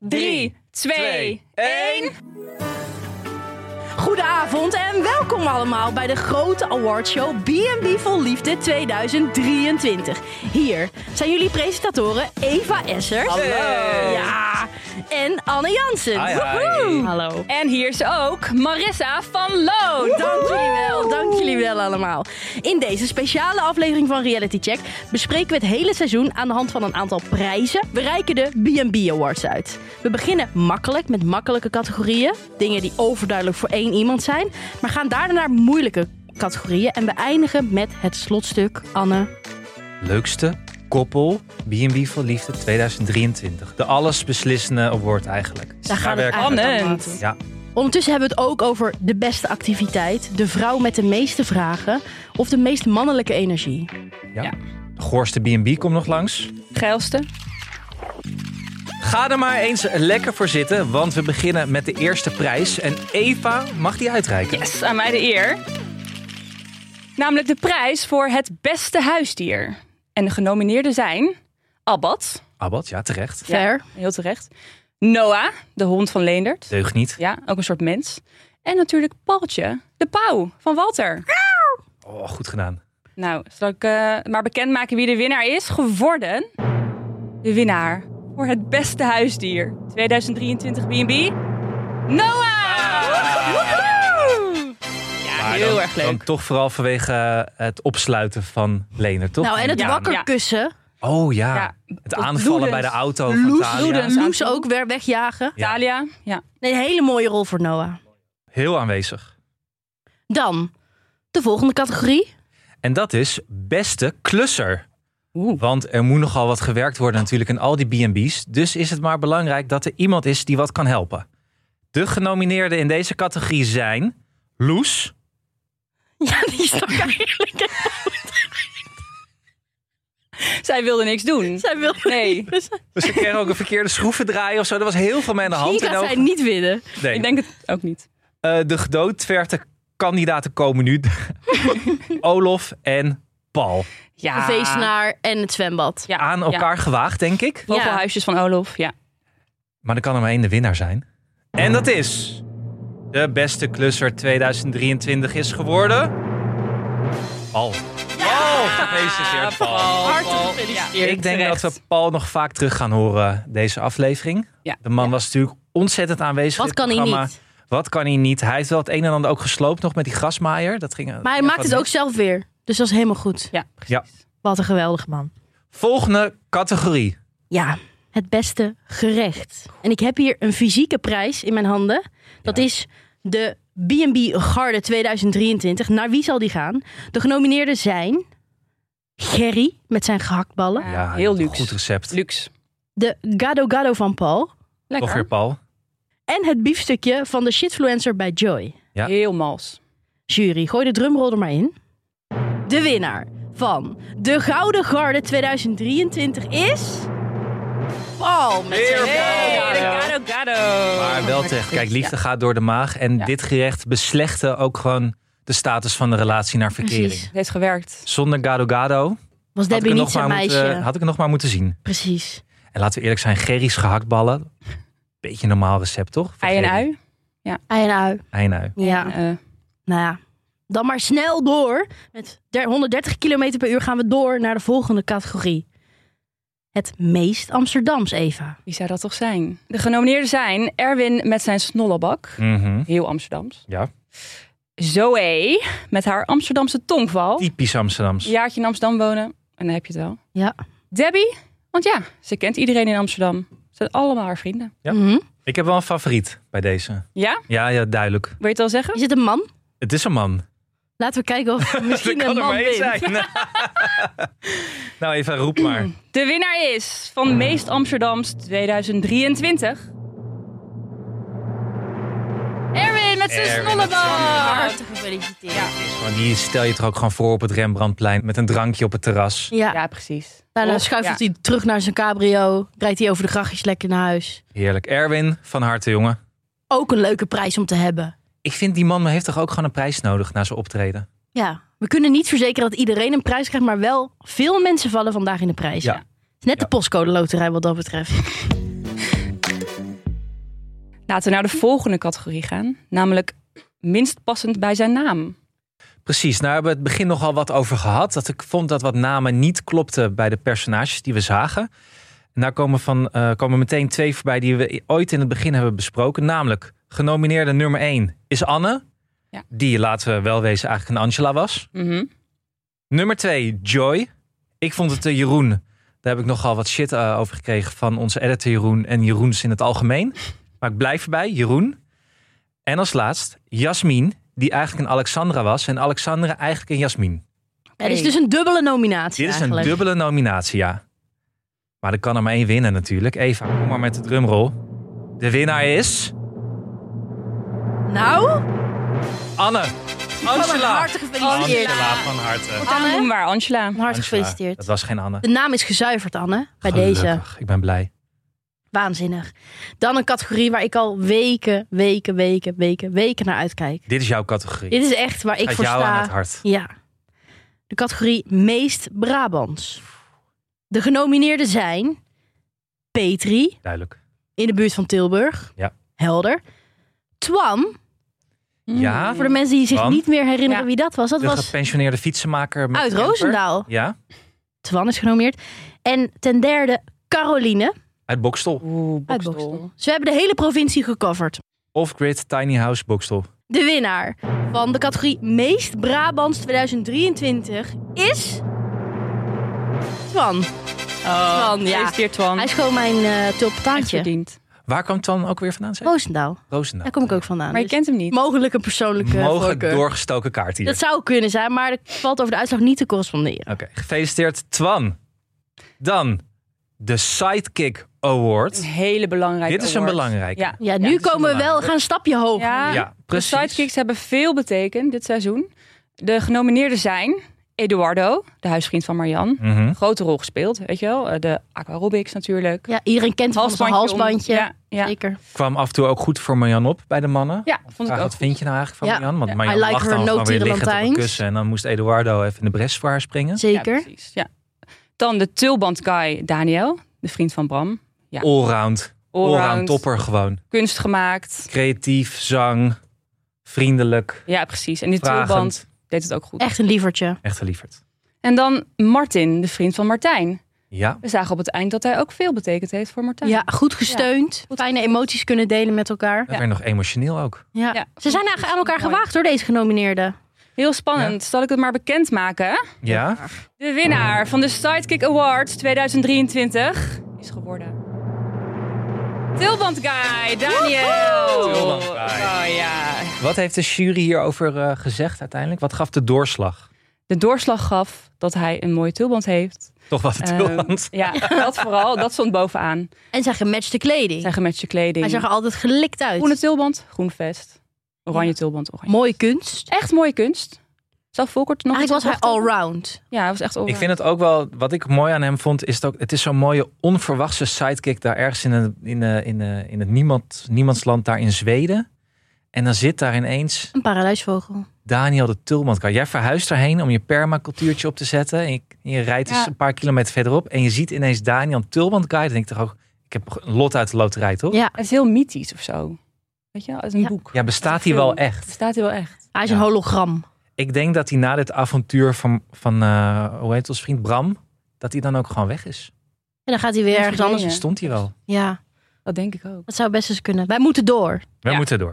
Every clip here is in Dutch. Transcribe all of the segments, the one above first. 3, 2, twee, 1. Goedenavond en welkom allemaal bij de grote awardshow B&B Vol Liefde 2023. Hier zijn jullie presentatoren Eva Esser. Hallo. Ja, en Anne Jansen. Hi, hi. Woehoe. Hallo. En hier is ook Marissa van Loo. Dank jullie wel, dank jullie wel allemaal. In deze speciale aflevering van Reality Check bespreken we het hele seizoen aan de hand van een aantal prijzen. We reiken de B&B Awards uit. We beginnen makkelijk met makkelijke categorieën. Dingen die overduidelijk voor één iemand zijn. Maar gaan daarna naar moeilijke categorieën. En we eindigen met het slotstuk, Anne. Leukste koppel B&B voor Liefde 2023. De allesbeslissende award eigenlijk. Daar gaan we werken we eigenlijk Spannend. aan toe. Ondertussen hebben we het ook over de beste activiteit. De vrouw met de meeste vragen. Of de meest mannelijke energie. met- Ja. De goorste B&B komt nog langs. Geilste. Ga er maar eens lekker voor zitten, want we beginnen met de eerste prijs. En Eva mag die uitreiken. Yes, aan mij de eer. Namelijk de prijs voor het beste huisdier. En de genomineerden zijn Abbat, Abbat, ja, terecht. Ver. heel terecht. Noah, de hond van Leendert. Deugt niet. Ja, ook een soort mens. En natuurlijk Paltje, de pauw van Walter. Oh, goed gedaan. Nou, zal ik eh, maar bekendmaken wie de winnaar is geworden? De winnaar voor het beste huisdier 2023 B&B, Noah! Woehoe! Ja, Maar heel dan- erg leuk. Dan toch vooral vanwege eh, het opsluiten van Lener, toch? Nou, en het Ja. wakkerkussen. Oh ja, Ja, het tot aanvallen bij de bloedens. auto van Thalia. bloedens. Loes, Loes ook weer wegjagen. Ja. Italia, ja. Nee, een hele mooie rol voor Noah. Heel aanwezig. Dan de volgende categorie. En dat is beste klusser. Oeh. Want er moet nogal wat gewerkt worden natuurlijk in al die B&B's. Dus is het maar belangrijk dat er iemand is die wat kan helpen. De genomineerden in deze categorie zijn... Loes, Ja, die stak eigenlijk. Zij wilde niks doen. Zij wilde Nee. niet. Dus dus ik kreeg ook een verkeerde schroevendraaier of zo. Er was heel veel mee aan de hand. Hier En gaat ook- zij niet winnen. Nee. Ik denk het ook niet. Eh, de gedoodverte kandidaten komen nu. Olof en Paul. Ja. De feestnaar en het zwembad. Ja, Aan Ja. elkaar gewaagd, denk ik. Vogelhuisjes van Olof, ja. Maar er kan er maar één de winnaar zijn. En dat is... De beste klusser 2023 is geworden... Paul. Paul! Gefeliciteerd, Paul. Hartelijk gefeliciteerd. Ik denk terecht. dat we Paul nog vaak terug gaan horen deze aflevering. Ja. De man was natuurlijk ontzettend aanwezig Wat in kan het hij programma. niet? Wat kan hij niet? Hij heeft wel het een en ander ook gesloopt nog met die grasmaaier. Dat ging, Maar hij maakt het ook zelf weer. Dus dat is helemaal goed. Ja, precies. Ja. Wat een geweldig man. Volgende categorie. Ja, het beste gerecht. En ik heb hier een fysieke prijs in mijn handen. Dat is de B&B Garde 2023. Naar wie zal die gaan? De genomineerden zijn... Gerry met zijn gehaktballen. Ja, Ja, heel een luxe. Goed recept. Luxe. De Gado Gado van Paul. Toch weer Lekker. Paul. En het biefstukje van de shitfluencer bij Joy. Ja. Heel mals. Jury, gooi de drumrol er maar in. De winnaar van de Gouden Garde 2023 is... Paul met zijn Hey, de Gado gado gado. Maar wel terecht. Kijk, liefde gaat door de maag. En Ja. dit gerecht beslechtte ook gewoon de status van de relatie naar verkering. Precies. Het heeft gewerkt. Zonder gado gado Was had ik, Debbie er niet nog zijn maar meisje. moeten, had ik het nog maar moeten zien. Precies. En laten we eerlijk zijn, Gerry's gehaktballen. Beetje een normaal recept, toch? Voor Ei en Gerry. ui. Ei en ui. Ei en ui. Ja. Eh, Nou ja, dan maar snel door. Met der- 130 km per uur gaan we door naar de volgende categorie. Het meest Amsterdams, Eva. wie zou dat toch zijn? De genomineerden zijn Erwin met zijn snollebak. Mhm. Heel Amsterdams. Ja. Zoe met haar Amsterdamse tongval. Typisch Amsterdams. Een jaartje in Amsterdam wonen. En dan heb je het wel. Ja. Debbie, want ja, ze kent iedereen in Amsterdam. Ze zijn allemaal haar vrienden. Ja. Mhm. Ik heb wel een favoriet bij deze. Ja? Ja, ja, duidelijk. Wil je het al zeggen? Is het een man? Het is een man. Laten we kijken of er misschien een man wint. nou, even roep maar. De winnaar is van Meest Amsterdams 2023. Erwin met zijn Erwin met snollebak. Hartelijk gefeliciteerd. Ja, Maar die stel je toch ook gewoon voor op het Rembrandtplein met een drankje op het terras. Ja, precies. daarna Toch? schuifelt Ja. Nou, hij terug naar zijn cabrio. Rijdt hij over de grachtjes lekker naar huis. Heerlijk. Erwin, van harte jongen. Ook een leuke prijs om te hebben. Ik vind die man heeft toch ook gewoon een prijs nodig na zijn optreden. Ja, we kunnen niet verzekeren dat iedereen een prijs krijgt, maar wel veel mensen vallen vandaag in de prijs. Ja. Net Ja. de postcode loterij wat dat betreft. Laten we naar de volgende categorie gaan. Namelijk minst passend bij zijn naam. Precies, nou hebben we het begin nogal wat over gehad. Dat ik vond dat wat namen niet klopten bij de personages die we zagen. En daar komen, van, eh, komen meteen twee voorbij die we ooit in het begin hebben besproken. Namelijk, genomineerde nummer 1 is Anne. Ja. Die, laten we wel wezen, eigenlijk een Angela was. Mhm. Nummer 2, Joy. Ik vond het eh, Jeroen. Daar heb ik nogal wat shit eh, over gekregen van onze editor Jeroen en Jeroens in het algemeen. Maar ik blijf erbij, Jeroen. En als laatst, Jasmin, die eigenlijk een Alexandra was. En Alexandra eigenlijk een Jasmin. Het is dus een dubbele nominatie Dit is een eigenlijk. dubbele nominatie, ja. Maar er kan er maar één winnen natuurlijk. Eva, kom maar met de drumroll. De winnaar is... Nou, Anne. van Angela. harte gefeliciteerd. Angela van harte. Daarom Anne? noemen we haar Angela. Van harte Angela. gefeliciteerd. Dat was geen Anne. De naam is gezuiverd, Anne. Bij deze. Gelukkig, Ik ben blij. Waanzinnig. Dan een categorie waar ik al weken, weken, weken, weken, weken naar uitkijk. Dit is jouw categorie. Dit is echt waar ik Gaat voor jou aan het sta. hart. Ja. De categorie meest Brabants. De genomineerden zijn Petri Duidelijk. in de buurt van Tilburg. Ja. Helder. Twan, Mhm. Ja? voor de mensen die zich Mm. Twan? niet meer herinneren Ja. wie dat was. Dat De was gepensioneerde fietsenmaker. met uit camper. Roosendaal. Ja, Twan is genomineerd. En ten derde Caroline uit Bokstel. Oeh, uit Bokstel. Bokstel. Dus we hebben de hele provincie gecoverd. Off-grid tiny house Bokstel. De winnaar van de categorie Meest Brabants 2023 is... Twan. Oh, Twan, ja. Gefeliciteerd, Twan. Hij is gewoon mijn eh Echt tulpentaartje. verdiend. Waar kwam Twan ook weer vandaan? Zeg? Roosendaal. Roosendaal. Daar kom ik ook vandaan. Maar je Dus kent hem niet. mogelijk een persoonlijke Mogelijk voorkeur. doorgestoken kaart hier. Dat zou kunnen zijn, maar dat valt over de uitslag niet te corresponderen. Oké, gefeliciteerd Twan. Dan de Sidekick Award. Een hele belangrijke Dit is een award. belangrijke. Ja, Ja, Ah, nu dit is komen we wel, belangrijk. gaan een stapje hoger. Ja, Ja, de precies. sidekicks hebben veel betekend dit seizoen. De genomineerden zijn Eduardo, de huisvriend van Marian. Mhm. Grote rol gespeeld, weet je wel. Eh, De aquarobics natuurlijk. Ja, iedereen kent van zijn om. halsbandje. Ja, ja. Zeker. Kwam af en toe ook goed voor Marjan op bij de mannen. ja, vond ik Vraag, ook. wat vind je nou eigenlijk van Ja. Marjan? Want Ja. Marjan I like lag her dan gewoon weer liggend op een no-tierenlantijns. kussen. En dan moest Eduardo even in de bres voor haar springen. Zeker. Ja, precies, ja. Dan de tulband guy Daniel, de vriend van Bram. Ja. Allround. Allround, Allround topper gewoon. kunst gemaakt. Creatief, zang, vriendelijk, Ja, precies. En die tulband vragend. deed het ook goed. Echt een lievertje. Echt geliefd. En dan Martin, de vriend van Martijn. Ja, We zagen op het eind dat hij ook veel betekend heeft voor Martijn. Ja, goed gesteund. Goed Fijne emoties kunnen delen met elkaar. dat werd nog emotioneel ook. Ja. Ja. Ze zijn eigenlijk aan elkaar Mooi. gewaagd door deze genomineerden. Heel spannend. Zal ik het maar bekendmaken? Ja, De winnaar van de Sidekick Awards 2023 is geworden. Tilband Guy, Daniel. Tilband guy. Oh ja. wat heeft de jury hierover eh, gezegd uiteindelijk? Wat gaf de doorslag? De doorslag gaf dat hij een mooie tulband heeft. Toch wat het Tilland. Ehm, ja, dat vooral. Dat stond bovenaan. En zijn gematchte kleding. Zijn gematchte kleding. Hij zag er altijd gelikt uit. Groene tulband, groen vest. Oranje tulband, oranje. Mooie kunst. Echt mooie kunst. Zelf Volkert nog Eigenlijk was iets hij op wachten? allround. Ja, hij was echt Ik allround. vind het ook wel, wat ik mooi aan hem vond, is het ook, het is zo'n mooie onverwachte sidekick daar ergens in, een, in, eh, in, eh, in het niemand, niemandsland daar in Zweden. En dan zit daar ineens Een paradijsvogel. Daniel de Tulman. Jij verhuist daarheen om je permacultuurtje op te zetten. En je, en je rijdt dus Ja. een paar kilometer verderop. En je ziet ineens Daniel Tulman. Dan denk ik toch ook, ik heb een lot uit de loterij, toch? Ja. Het is heel mythisch of zo. Weet je wel, uit een Ja. boek. Ja, bestaat hij wel Film. echt? Staat hij wel echt. Hij is een Ja. hologram. Ik denk dat hij na dit avontuur van, van eh, hoe heet ons vriend Bram, dat hij dan ook gewoon weg is. Dus En dan gaat hij weer Ja, ergens verdwenen. anders. Ja. Stond hij wel. Ja, Dat denk ik ook. dat zou best eens kunnen. Wij moeten door. We Ja. moeten door.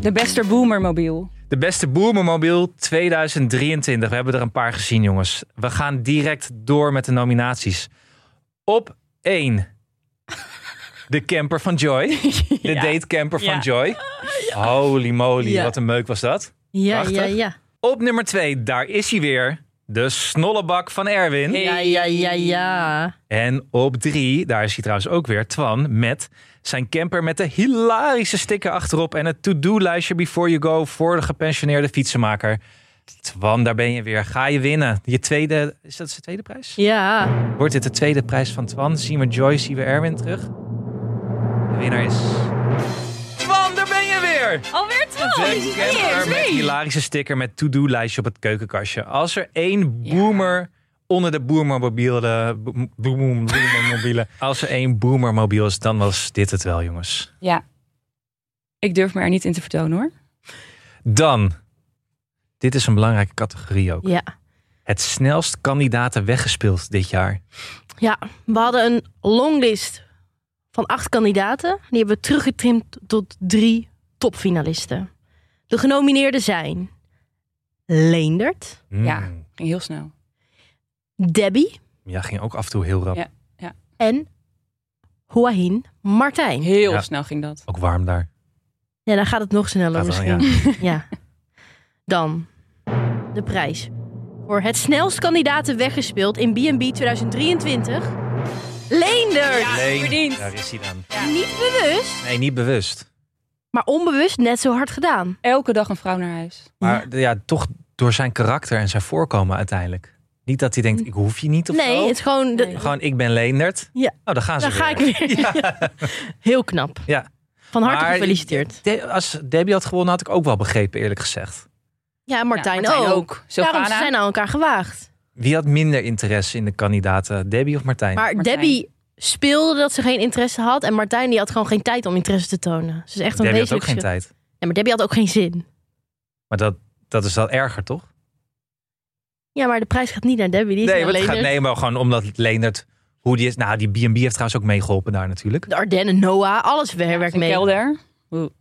De beste boomermobiel. De beste Boermermobiel 2023. We hebben er een paar gezien, jongens. We gaan direct door met de nominaties. Op 1. De camper van Joy. De datecamper van Ja. Joy. Holy moly, Ja. wat een meuk was dat. Ja, Prachtig. ja, ja. Op nummer 2, daar is hij weer. De snollebak van Erwin. Hey. Ja, ja, ja, ja. En op 3, daar is hij trouwens ook weer, Twan, met zijn camper met de hilarische sticker achterop en het to-do-lijstje before you go voor de gepensioneerde fietsenmaker. Twan, daar ben je weer. Ga je winnen. Je tweede, is dat zijn tweede prijs? Ja. Wordt dit de tweede prijs van Twan? Zien we Joyce, zien we Erwin terug? De winnaar is... Twan, daar ben je weer! Alweer De camper met hilarische sticker met to-do-lijstje op het keukenkastje. Als er één boomer onder de boomermobiele. boom- boom- Boomermobiele. Als er één boomermobiel is, dan was dit het wel, jongens. Ja. Ik durf me er niet in te vertonen hoor. Dan. Dit is een belangrijke categorie ook. Ja. Het snelst kandidaten weggespeeld dit jaar. Ja, we hadden een longlist van acht kandidaten. Die hebben we teruggetrimd tot drie topfinalisten. De genomineerden zijn Leendert, Mm. Ja. Ging heel snel. Debbie Ja, ging ook af en toe heel rap. Ja. en Joahin Martijn. Heel Ja. snel ging dat. Ook warm daar. Ja, dan gaat het nog sneller Gaat wel, misschien. ja. Dan de prijs. Voor het snelst kandidaten weggespeeld in B&B 2023. Leendert! Ja, Leen, verdiend. Daar is hij dan. Niet bewust, Nee, niet bewust. maar onbewust net zo hard gedaan. Elke dag een vrouw naar huis. Maar ja. toch door zijn karakter en zijn voorkomen uiteindelijk. Niet dat hij denkt, ik hoef je niet of nee, zo. het is gewoon... de- Nee. Gewoon, ik ben Leendert. Ja. Nou, dan gaan ze Dan ga ik weer. weer. Heel knap. Ja. Van harte Maar- gefeliciteerd. De- als Debbie had gewonnen, had ik ook wel begrepen, eerlijk gezegd. Ja, en Martijn, Ja, ook. Daarom Sylvana. zijn ze aan elkaar gewaagd. Wie had minder interesse in de kandidaten, Debbie of Martijn? Maar Martijn. Debbie speelde dat ze geen interesse had. En Martijn die had gewoon geen tijd om interesse te tonen. Ze is echt Debbie een had wezenlijk ook geen verschil. tijd. Ja, maar Debbie had ook geen zin. Maar dat, dat is wel erger, toch? Ja, maar de prijs gaat niet naar Debbie. Die is Nee, naar maar het gaat, Leendert. nee, maar gewoon omdat Leendert... Hoe die is, nou, die B&B heeft trouwens ook meegeholpen daar natuurlijk. Oké, De Ardennen, Noah, alles Ja, werkt zijn mee. kelder.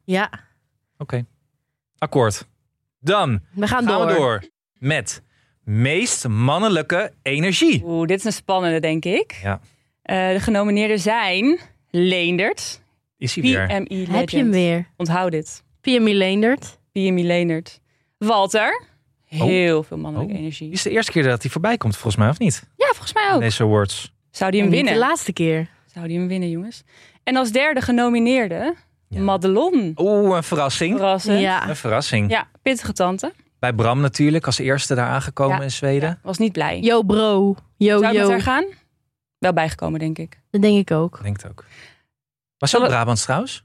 Ja, akkoord. Dan we gaan, gaan door. we door met meest mannelijke energie. Oeh, dit is een spannende, denk ik. Ja. Eh, de genomineerden zijn Leendert, Is hij weer? PMI Legend. Heb je hem weer? Onthoud dit. PMI Leendert. PMI Leendert. Walter, heel veel mannelijke Oh. energie. Dit is de eerste keer dat hij voorbij komt, volgens mij, of niet? Ja, volgens mij ook. Deze awards. Zou die En hem niet De winnen? laatste keer. Zou die hem winnen, jongens? En als derde genomineerde, Ja. Oh. Madelon. Oeh, een verrassing. Verrassend. Ja. Ja. Een verrassing. pittige tante. Bij Bram natuurlijk, als eerste daar aangekomen Ja. in Zweden. Ja, was niet blij. Yo bro. Yo Zou ik met yo. haar gaan? Wel bijgekomen, denk ik. Dat denk ik ook. Ik denk het ook. Was ze ook Zullen- Brabants trouwens?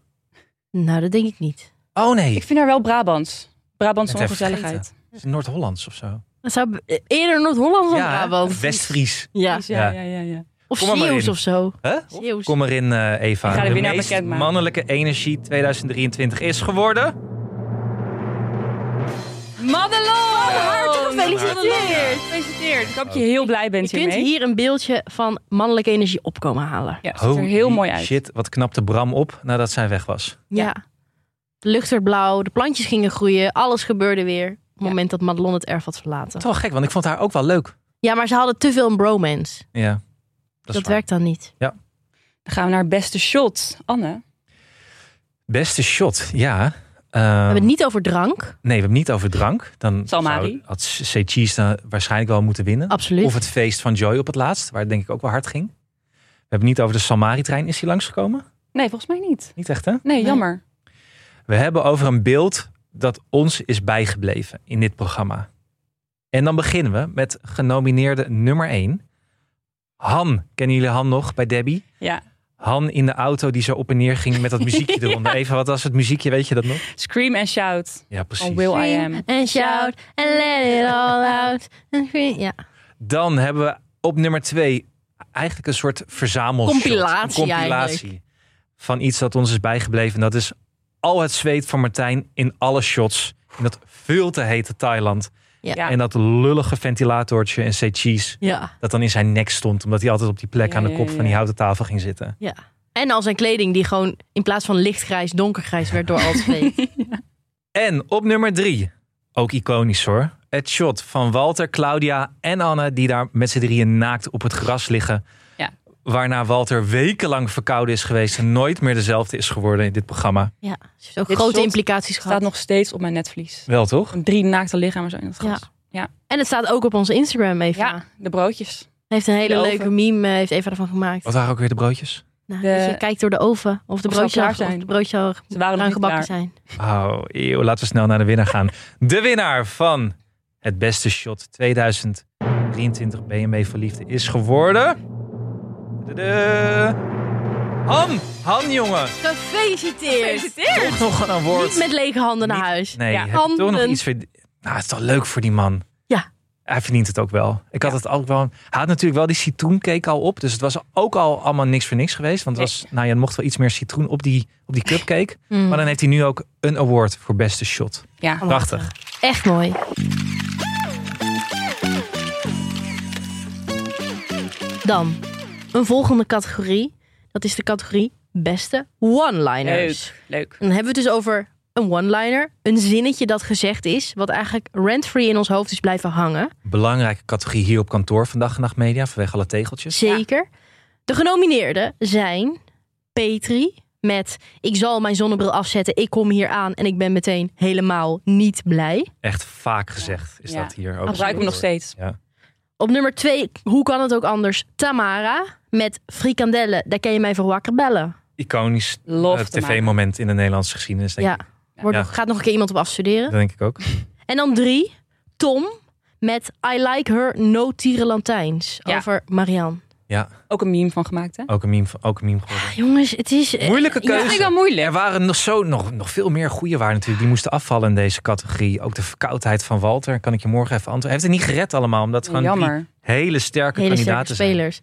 Nou, dat denk ik niet. Oh nee, Ik vind haar wel Brabants. Brabantse Ik ben het even ongezelligheid. Is het Noord-Hollands of zo. Dat zou eerder Noord-Holland dan hè? Brabant. West-Fries. Ja. Ja, ja, ja, ja. Of Kom er maar Zeeuws in. of zo. Hè? Zeeuws. Kom erin, eh, Eva. Ik ga de de winnaar meest bekendmaken. mannelijke energie 2023 is geworden. Madelon! harte gefeliciteerd. Madelon, Gefeliciteerd. Ik hoop dat je heel blij Je bent kunt hiermee. hier een beeldje van mannelijke energie opkomen halen. Ja, het ziet er Holy heel mooi uit. Shit, wat knapte Bram op nadat zij weg was. Ja. De lucht werd blauw, de plantjes gingen groeien, alles gebeurde weer. Op het Ja. moment dat Madelon het erf had verlaten. Dat is wel gek, want ik vond haar ook wel leuk. Ja, maar ze hadden te veel een bromance. Ja, dat, is Dat, waar. werkt dan niet. Dan gaan we naar beste shot. Anne. Beste shot, ja. Ehm, We hebben het niet over drank. Nee, we hebben het niet over drank. Dan Salmari. zou- had C. Cheese dan waarschijnlijk wel moeten winnen. Absoluut. Of het feest van Joy op het laatst, waar het denk ik ook wel hard ging. We hebben het niet over de Salmari-trein. Is die langsgekomen? Nee, volgens mij niet. Niet echt, hè? Nee, jammer. We hebben over een beeld dat ons is bijgebleven in dit programma. En dan beginnen we met genomineerde nummer 1. Han. Kennen jullie Han nog bij Debbie? Ja. Han in de auto die zo op en neer ging met dat muziekje eronder. Even, wat was het muziekje? Weet je dat nog? Scream and shout. Ja, On precies. Oh, Will I Scream Am. En shout, and let it all out. En scream- Ja. Dan hebben we op nummer 2 eigenlijk een soort verzamel Compilatie eigenlijk. van iets dat ons is bijgebleven. En dat is al het zweet van Martijn in alle shots. In dat veel te hete Thailand. Ja. Ja. En dat lullige ventilatortje en C. Cheese. ja. Dat dan in zijn nek stond. Omdat hij altijd op die plek Ja, aan de ja, kop ja. van die houten tafel ging zitten. En al zijn kleding die gewoon in plaats van lichtgrijs, donkergrijs werd door al twee. En op nummer 3. Ook iconisch hoor. Het shot van Walter, Claudia en Anne. Die daar met z'n drieën naakt op het gras liggen. Ja. Waarna Walter wekenlang verkouden is geweest. En nooit meer dezelfde is geworden in dit programma. ja. Ze heeft ook Dit grote shot implicaties Staat gehad. nog steeds op mijn netvlies. Wel toch? Drie naakte lichamen zo in het Ja. gras. En het staat ook op onze Instagram, Eva. Ja, de broodjes. Heeft een hele De leuke oven. meme eh, heeft Eva ervan gemaakt. Wat waren ook weer de broodjes? Nou, De- dat je kijkt door de oven of de Of ze al broodjes al, klaar of zijn. de broodjes al Ze waren nog bruin niet gebakken klaar. zijn. Oh, eeuw. Laten we snel naar de winnaar gaan. De winnaar van het beste shot 2023 BMW voor Liefde is geworden... Tada. Han! Han, jongen! Gefeliciteerd! Toch nog een woord. Niet met lege handen naar Niet- huis. Nee, Ja. heb je toch nog Handen. iets... verd- Nou, het is toch leuk voor die man. Ja. Hij verdient het ook wel. Ik had het ook wel. Hij had natuurlijk wel die citroencake al op. Dus het was ook al allemaal niks voor niks geweest. Want het was, nou ja, er mocht wel iets meer citroen op die, op die cupcake. Mm. Maar dan heeft hij nu ook een award voor beste shot. Ja. Prachtig. Echt mooi. Dan een volgende categorie. Dat is de categorie beste one-liners. Leuk. Leuk. Dan hebben we het dus over een one-liner. Een zinnetje dat gezegd is, wat eigenlijk rent-free in ons hoofd is blijven hangen. Belangrijke categorie hier op kantoor vandaag en nacht media. Vanwege alle tegeltjes. Zeker. De genomineerden zijn Petri met Ik zal mijn zonnebril afzetten, ik kom hier aan en ik ben meteen helemaal niet blij. Echt vaak gezegd is Ja. dat hier ook. Dan gebruik ik hem nog steeds. Op nummer twee, hoe kan het ook anders, Tamara met Frikandellen, daar kan je mij voor wakker bellen. Iconisch Love eh, te maken. tv-moment in de Nederlandse geschiedenis, denk Ja. ik. Wordt Ja. nog, gaat nog een keer iemand op afstuderen. Dat denk ik ook. En dan drie, Tom met I like her no tierenlantijns Ja. over Marianne. Ja, Ook een meme van gemaakt, hè? ook een meme, ook een meme geworden. Jongens, het is... eh, Moeilijke ja, Dat keuze. vind ik wel moeilijk. Er waren nog, zo, nog, nog veel meer goede waar natuurlijk. Die moesten afvallen in deze categorie. Ook de verkoudheid van Walter. Kan ik je morgen even antwoorden? Hij heeft het niet gered allemaal. Omdat het gewoon drie Jammer. hele sterke hele sterke kandidaten zijn. spelers.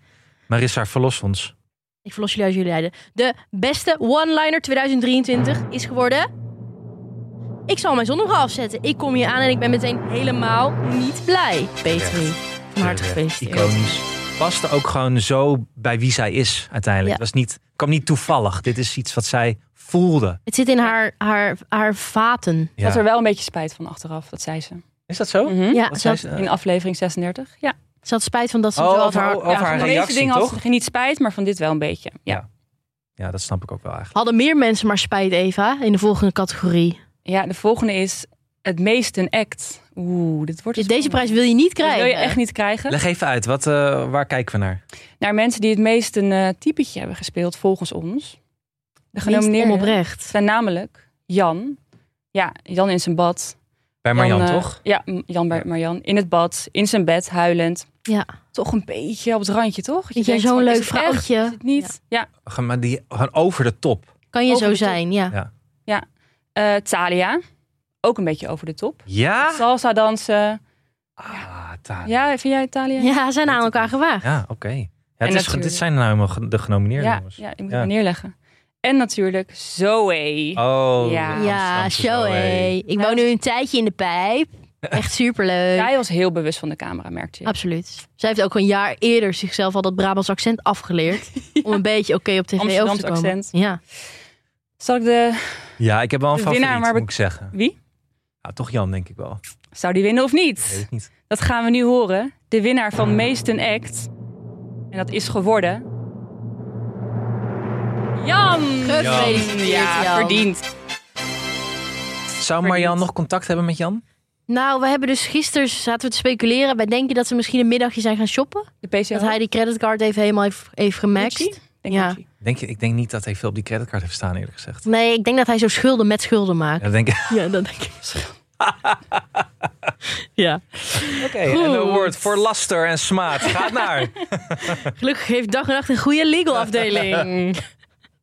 Marissa, verlos ons. Ik verlos jullie uit jullie lijden. De beste one-liner 2023 is geworden... Ik zal mijn zonnebril afzetten. Ik kom hier aan en ik ben meteen helemaal niet blij. Petri, van harte gefeliciteerd. eh, Iconisch. Paste ook gewoon zo bij wie zij is uiteindelijk. Ja. Het was niet, kwam niet toevallig. Dit is iets wat zij voelde. Het zit in haar, haar, haar vaten. Ik had Ja. er wel een beetje spijt van achteraf, dat zei ze. Is dat zo? Mhm. Ja, Hm? Wat ze zei had, ze? Eh, In aflevering 36. Ja. ze had spijt van dat ze Oh, het wel over had haar- haar- over haar van reactie, deze dingen had ze toch? geen- niet spijt, maar van dit wel een beetje. Ja. Ja. ja, dat snap ik ook wel eigenlijk. Hadden meer mensen maar spijt, Eva, in de volgende categorie. Ja, de volgende is het meest een act. Oeh, dit wordt Dus het deze spannend. prijs wil je niet Dit krijgen. wil je echt niet krijgen. Leg even uit, wat, eh, waar kijken we naar? Naar mensen die het meest een eh, typetje hebben gespeeld, volgens ons. De Minst genomineerden onoprecht. zijn namelijk Jan. Ja, Jan in zijn bad. Bij Marjan, Jan, eh, toch? Ja, M- Jan bij Marjan. In het bad, in zijn bed, huilend. Ja. Toch een beetje op het randje, toch? Dat Vind jij denkt zo'n van, is leuk het echt? Is vrouwtje? het niet? Ja. Gewoon Maar die, gewoon over de top. Kan je Over zo de top. zijn, ja. Eh, Thalia, ook een beetje over de top. Ah. Ja? Salsa dansen. Ah, daar. Ja, vind jij Thalia? Ja, ze zijn aan elkaar gewaagd. Ja, oké. Ja, het is, natuurlijk- dit zijn nou helemaal ge- de genomineerden, ja, jongens. ja, ik moet Ja. hem neerleggen. En natuurlijk Zoe. Oh, Ja. de Ja, Amsterdamse show, hé. Ik woon nu een tijdje in de pijp. Echt superleuk. Zij was heel bewust van de camera, merkte je. Absoluut. Zij heeft ook een jaar eerder zichzelf al dat Brabants accent afgeleerd. Om een beetje oké op tv over te Amsterdamse komen. accent. Ja. Zal ik de... Ja, ik heb wel een De favoriet, winnaar, maar we- moet ik zeggen. Wie? Ja, toch Jan, denk ik wel. Zou die winnen of niet? Weet ik niet. Dat gaan we nu horen. De winnaar van Meesten Act. En dat is geworden... Jan! Gefeliciteerd, Ja, Jan. verdiend. Zou Marjan nog contact hebben met Jan? Nou, we hebben dus gisteren zaten we te speculeren. Wij denken dat ze misschien een middagje zijn gaan shoppen. De PCO. Dat hij die creditcard even helemaal heeft, heeft Gucci? gemaxt. Denk Ja. Gucci. Denk, je- ik denk niet dat hij veel op die creditcard heeft staan, eerlijk gezegd. Nee, ik denk dat hij zo schulden met schulden maakt. Ja, denk ik. Ja, dat denk ik. ja. Oké, en de award voor laster en smaad gaat naar... Gelukkig heeft dag en nacht een goede legal afdeling.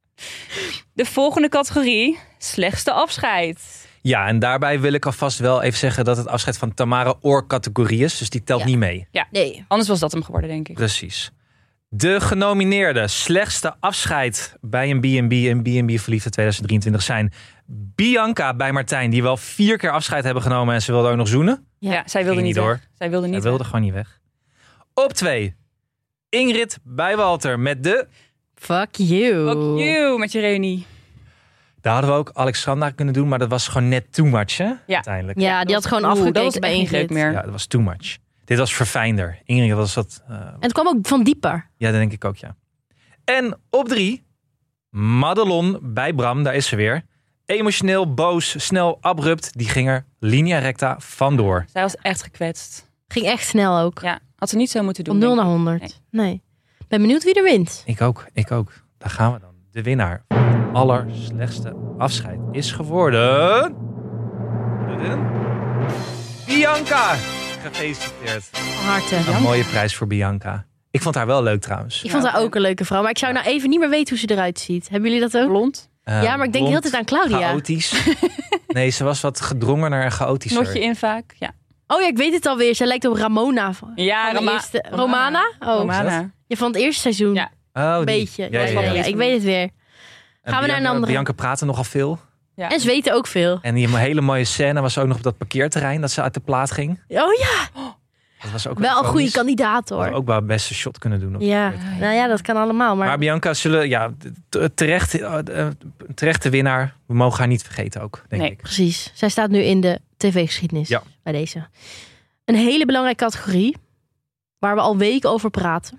De volgende categorie. Slechtste afscheid. Ja, en daarbij wil ik alvast wel even zeggen dat het afscheid van Tamara Oor categorie is. Dus die telt Ja. niet mee. Nee. Anders was dat hem geworden, denk ik. Precies. De genomineerde slechtste afscheid bij een B&B en B&B Verliefde 2023 zijn Bianca bij Martijn, die wel vier keer afscheid hebben genomen en ze wilde ook nog zoenen. Ja. Ja, zij wilde Ging niet weg. niet door. Zij wilde Hij niet wilde gewoon niet weg. Op twee, Ingrid bij Walter met de... Fuck you. weg. Fuck you met je reunie. Daar hadden we ook Alexandra kunnen doen, maar dat was gewoon net too much, hè? Uiteindelijk. Ja, die had gewoon Oeh, afgekeken dat was bij echt niet Ingrid. leuk meer. Ja, dat was too much. Dit was verfijnder. Ingrid was dat... eh, En het kwam ook van dieper. Ja, dat denk ik ook, ja. En op drie, Madelon bij Bram, daar is ze weer. Emotioneel, boos, snel, abrupt, die ging er linea recta vandoor. Zij was echt gekwetst. Ging echt snel ook. Ja, had ze niet zo moeten doen. Van 0 denk naar ik. 100. Nee. Ben benieuwd wie er wint. Ik ook, ik ook. Daar gaan we dan. De winnaar van het allerslechtste afscheid is geworden... Bianca! Gefeliciteerd. Van harte. Een mooie prijs voor Bianca. Ik vond haar wel leuk trouwens. Ik vond haar ook een leuke vrouw, maar ik zou nou even niet meer weten hoe ze eruit ziet. Hebben jullie dat ook? Blond. Eh, Ja, maar ik denk blond, heel de tijd aan Claudia. Chaotisch. Nee, ze was wat gedrongener en chaotischer. Knotje in vaak. Ja. Oh ja, ik weet het alweer. Zij lijkt op Ramona. Van Ja, van de Roma- eerste- Romana. Romana? Oh, Romana. Ja, van het eerste seizoen. Ja. Oh, Een die. beetje. Ja, ja, ja. ja, ja, Ik weet het weer. En Gaan we naar een Bianca- andere? Bianca praatte nogal veel. Ja. En ze weten ook veel. En die hele mooie scène was ook nog op dat parkeerterrein dat ze uit de plaat ging. Oh ja, Dat was ook wel een goede iconisch. kandidaat Hadden we hoor. ook wel best een shot kunnen doen. Op Ja, nou ja, dat kan allemaal. Maar Maar Bianca zullen, ja, t- terecht, eh, eh, terechte winnaar. We mogen haar niet vergeten ook, denk Nee. ik. precies, zij staat nu in de tv-geschiedenis Ja. bij deze. Een hele belangrijke categorie, waar we al weken over praten.